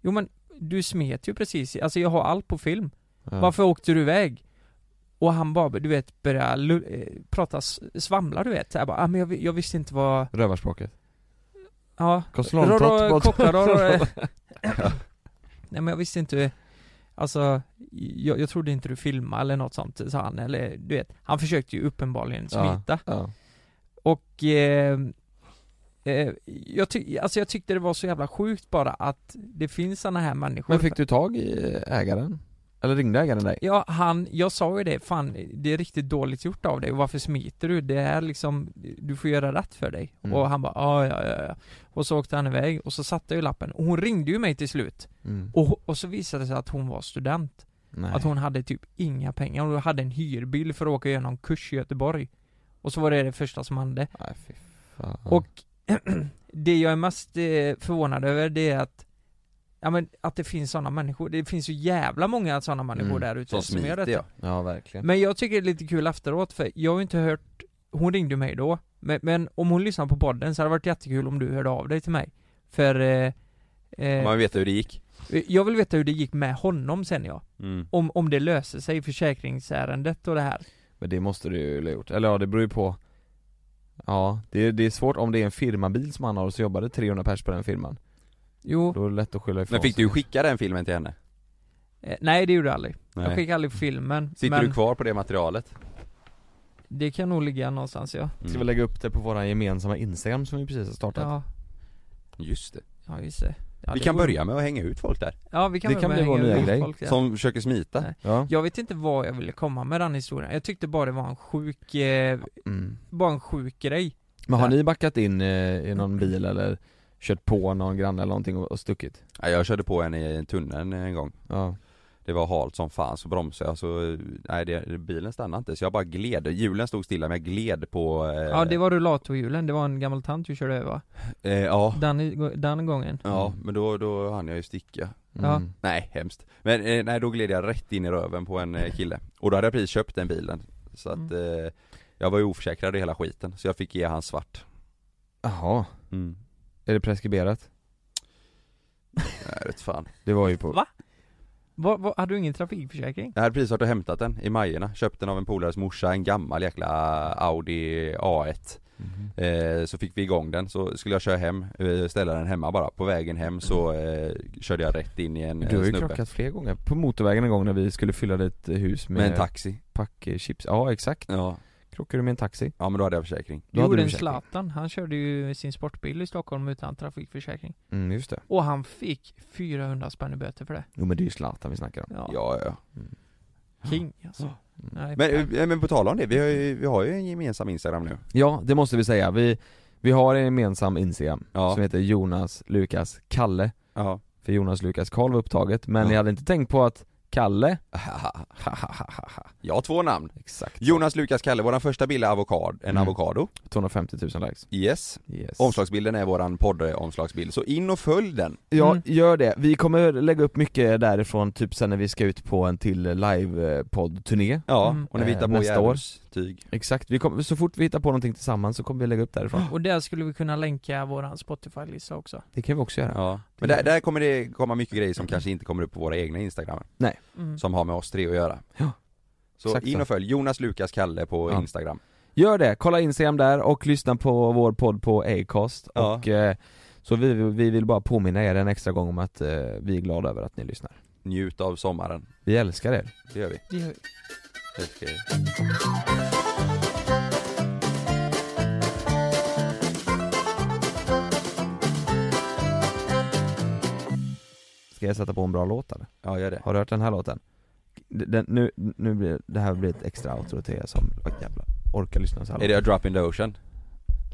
[SPEAKER 4] Jo men, du smet ju precis, alltså jag har allt på film
[SPEAKER 2] Ja.
[SPEAKER 4] Varför åkte du iväg? Och han bara, du vet, började lu- eh, prata s- svamla du vet, så jag bara, ah, men jag, vi- jag visste inte vad
[SPEAKER 2] Rövarspråket
[SPEAKER 4] Ja,
[SPEAKER 2] Kostlångtrott,
[SPEAKER 4] Roro-
[SPEAKER 2] bort-
[SPEAKER 4] Kopplar, roro- Nej men jag visste inte Alltså, jag, jag trodde inte du filmade eller något sånt, sa han, eller du vet Han försökte ju uppenbarligen
[SPEAKER 2] Ja,
[SPEAKER 4] smita
[SPEAKER 2] ja.
[SPEAKER 4] Och eh, eh, jag, ty- alltså jag tyckte det var så jävla sjukt bara att det finns såna här människor
[SPEAKER 2] Men fick du tag i eh, ägaren? Eller ringde ägaren dig?
[SPEAKER 4] Ja, han, jag sa ju det, fan det är riktigt dåligt gjort av dig och varför smiter du? Det är liksom, du får göra rätt för dig.
[SPEAKER 2] Mm.
[SPEAKER 4] Och han bara, "Ja, ja, ja, ja. Och så åkte han iväg och så satte jag ju lappen och hon ringde ju mig till slut.
[SPEAKER 2] Mm.
[SPEAKER 4] Och, och så visade det sig att hon var student.
[SPEAKER 2] Nej.
[SPEAKER 4] Att hon hade typ inga pengar, hon hade en hyrbil för att åka och göra någon kurs i Göteborg. Och så var det det första som hände.
[SPEAKER 2] Fan.
[SPEAKER 4] Och det jag är mest eh, förvånad över det är att Ja men att det finns sådana människor, det finns så jävla många sådana människor där ute
[SPEAKER 2] Mm. Som
[SPEAKER 4] gör
[SPEAKER 2] smiter
[SPEAKER 4] detta.
[SPEAKER 2] ja. Ja verkligen.
[SPEAKER 4] Men jag tycker det är lite kul efteråt för jag har ju inte hört Hon ringde mig då men, men om hon lyssnar på podden så hade det varit jättekul om du hörde av dig till mig För eh, eh,
[SPEAKER 3] Man vet hur det gick.
[SPEAKER 4] Jag vill veta hur det gick med honom sen ja
[SPEAKER 3] Mm.
[SPEAKER 4] om, om det löser sig, försäkringsärendet och det här
[SPEAKER 2] Men det måste du ju ha gjort, eller ja det beror ju på Ja, det är, det är svårt om det är en firmabil som han har och så jobbade 300 pers på den firman
[SPEAKER 4] Jo
[SPEAKER 2] Då är det lätt att skylla ifrån
[SPEAKER 3] Men fick
[SPEAKER 2] sig.
[SPEAKER 3] du skicka den filmen till henne?
[SPEAKER 4] eh, Nej det gjorde jag aldrig Jag
[SPEAKER 3] Nej.
[SPEAKER 4] skickade aldrig filmen
[SPEAKER 3] Sitter
[SPEAKER 4] men
[SPEAKER 3] du kvar på det materialet?
[SPEAKER 4] det kan nog ligga någonstans ja
[SPEAKER 2] Ska vi lägga upp det på våran gemensamma instagram som vi precis har startat?
[SPEAKER 4] Ja,
[SPEAKER 3] Mm. Just det.
[SPEAKER 4] ja just det ja,
[SPEAKER 3] vi
[SPEAKER 4] det
[SPEAKER 3] kan
[SPEAKER 4] vore-
[SPEAKER 3] börja med att hänga ut folk där.
[SPEAKER 4] Ja vi kan
[SPEAKER 2] Det
[SPEAKER 4] väl
[SPEAKER 2] kan
[SPEAKER 4] börja
[SPEAKER 2] bli vår
[SPEAKER 4] hänga
[SPEAKER 2] nya
[SPEAKER 4] ut
[SPEAKER 2] grej.
[SPEAKER 4] folk där.
[SPEAKER 3] Som försöker smita.
[SPEAKER 4] Nej.
[SPEAKER 2] Ja.
[SPEAKER 4] Jag vet inte vad jag ville komma med den historien, jag tyckte bara det var en sjuk, eh,
[SPEAKER 2] Mm.
[SPEAKER 4] bara en sjuk grej
[SPEAKER 2] Men har ni backat in eh, i någon bil eller kört på någon granne eller någonting och, och stuckit?
[SPEAKER 3] Ja, jag körde på en i tunneln en gång.
[SPEAKER 2] Ja.
[SPEAKER 3] Det var halt som fan så bromsade jag så, nej det, bilen stannade inte så jag bara gled. Hjulen stod stilla men jag gled på, eh,
[SPEAKER 4] Ja det var rullatorhjulen, det var en gammal tant du körde över va?
[SPEAKER 3] eh, ja.
[SPEAKER 4] Den, den gången
[SPEAKER 3] Ja, men då, då hann jag ju sticka
[SPEAKER 4] Ja. Mm.
[SPEAKER 3] Nej, hemskt Men eh, nej, då gled jag rätt in i röven på en eh, kille Och då hade jag precis köpt den bilen Så att eh, Jag var ju oförsäkrad i hela skiten Så jag fick ge han svart
[SPEAKER 2] Jaha Är det preskriberat?
[SPEAKER 3] Nej, vet fan
[SPEAKER 2] Det var ju på
[SPEAKER 4] Va? Vad, vad, hade du ingen trafikförsäkring?
[SPEAKER 3] Jag hade precis varit och hämtat den i Majerna Köpt den av en polares morsa, en gammal jäkla Audi A1 eh, Så fick vi igång den, så skulle jag köra hem eh, Ställa den hemma bara, på vägen hem så eh, Körde jag rätt in i en eh,
[SPEAKER 2] Mm. Du har ju
[SPEAKER 3] snubbe.
[SPEAKER 2] krockat fler gånger, på motorvägen en gång när vi skulle fylla ditt eh, hus med
[SPEAKER 3] Med en taxi.
[SPEAKER 2] Pack eh, chips, ja exakt
[SPEAKER 3] ja.
[SPEAKER 2] Krockade du med en taxi?
[SPEAKER 3] Ja men då hade jag försäkring
[SPEAKER 4] Du
[SPEAKER 2] hade
[SPEAKER 4] gjorde
[SPEAKER 2] du
[SPEAKER 4] en
[SPEAKER 2] försäkring.
[SPEAKER 4] Zlatan, han körde ju sin sportbil i Stockholm utan trafikförsäkring
[SPEAKER 2] Mm, just det
[SPEAKER 4] Och han fick 400 spänn i böter för det
[SPEAKER 2] Jo men det är ju Zlatan vi snackar om
[SPEAKER 4] Ja.
[SPEAKER 3] Ja, ja.
[SPEAKER 4] King alltså Nej,
[SPEAKER 3] Men,
[SPEAKER 4] nej.
[SPEAKER 3] eh, men på tal om det, vi har, ju, vi har ju en gemensam Instagram nu
[SPEAKER 2] Ja, det måste vi säga. Vi, vi har en gemensam Instagram
[SPEAKER 3] Ja.
[SPEAKER 2] som heter Jonas Lukas Kalle.
[SPEAKER 3] Ja.
[SPEAKER 2] För Jonas Lukas Karl var upptaget, men ni hade inte tänkt på att Kalle
[SPEAKER 3] Jag har två namn
[SPEAKER 2] Exakt
[SPEAKER 3] Jonas Lukas Kalle, våran första bild är avokad, en
[SPEAKER 2] Mm.
[SPEAKER 3] avokado
[SPEAKER 2] 250 000 likes.
[SPEAKER 3] Yes.
[SPEAKER 2] Yes.
[SPEAKER 3] Omslagsbilden är våran poddomslagsbild, så in och följ den!
[SPEAKER 2] Ja,
[SPEAKER 4] Mm.
[SPEAKER 2] gör det. Vi kommer lägga upp mycket därifrån, typ sen när vi ska ut på en till eh, livepodd-turné
[SPEAKER 3] Ja, Mm. och när vi hittar på
[SPEAKER 2] nästa år.
[SPEAKER 3] tyg
[SPEAKER 2] Exakt, vi kommer, så fort vi hittar på någonting tillsammans så kommer vi lägga upp därifrån
[SPEAKER 4] Och där skulle vi kunna länka våran Spotify-lista också
[SPEAKER 2] Det kan vi också göra
[SPEAKER 3] Ja, men där, där kommer det Mm. komma mycket grejer som kanske inte kommer upp på våra egna instagram
[SPEAKER 2] Nej.
[SPEAKER 4] Mm.
[SPEAKER 3] Som har med oss tre att göra
[SPEAKER 2] Ja.
[SPEAKER 3] Så
[SPEAKER 2] Exakt
[SPEAKER 3] in
[SPEAKER 2] så.
[SPEAKER 3] och följ Jonas Lukas Kalle på
[SPEAKER 2] Ja.
[SPEAKER 3] instagram
[SPEAKER 2] Gör det, kolla Instagram där och lyssna på vår podd på Acast
[SPEAKER 3] Ja.
[SPEAKER 2] och eh, så vi, vi vill bara påminna er en extra gång om att eh, vi är glada över att ni lyssnar.
[SPEAKER 3] Njut av sommaren,
[SPEAKER 2] Vi älskar er.
[SPEAKER 3] det gör vi
[SPEAKER 4] Det gör vi.
[SPEAKER 3] Älskar er.
[SPEAKER 2] Ska jag sätta på en bra låt eller?
[SPEAKER 3] Ja gör det.
[SPEAKER 2] Har du hört den här låten? D- Den, nu, nu blir det här blir ett extra outro till er som vad jävla, orkar lyssna så här
[SPEAKER 3] Är det A Drop in the Ocean?
[SPEAKER 2] långt.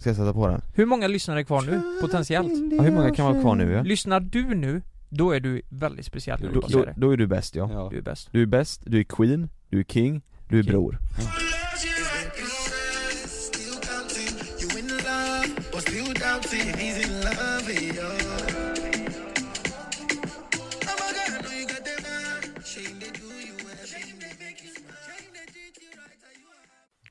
[SPEAKER 2] Ska jag sätta på den?
[SPEAKER 4] Hur många lyssnare är kvar nu, potentiellt?
[SPEAKER 2] Ja, hur många kan vara kvar nu, ja?
[SPEAKER 4] Lyssnar du nu, då är du väldigt speciell
[SPEAKER 2] Då, då,
[SPEAKER 4] lyssnare.
[SPEAKER 2] då är du bäst ja.
[SPEAKER 4] Du är bäst
[SPEAKER 2] Du är bäst, du är queen, du är king, du är bror.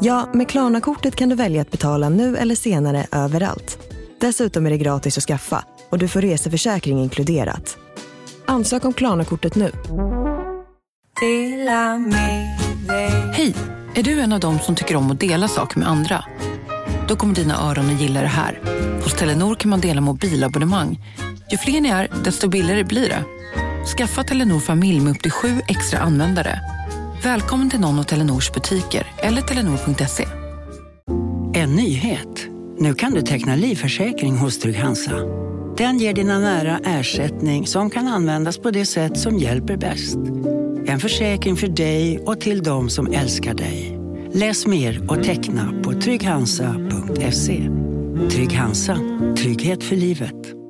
[SPEAKER 1] Ja, med Klarna-kortet kan du välja att betala nu eller senare överallt. Dessutom är det gratis att skaffa och du får reseförsäkring inkluderat. Ansök om Klarna-kortet nu.
[SPEAKER 8] Hej! Är du en av dem som tycker om att dela saker med andra? Då kommer dina öron att gilla det här. Hos Telenor kan man dela mobilabonnemang. Ju fler ni är, desto billigare blir det. Skaffa Telenor familj med upp till sju extra användare. Välkommen till någon av Telenors butiker eller telenor.se.
[SPEAKER 9] En nyhet. Nu kan du teckna livförsäkring hos Trygg-Hansa. Den ger dina nära ersättning som kan användas på det sätt som hjälper bäst. En försäkring för dig och till de som älskar dig. Läs mer och teckna på trygghansa.se. Trygg Hansa. Trygghet för livet.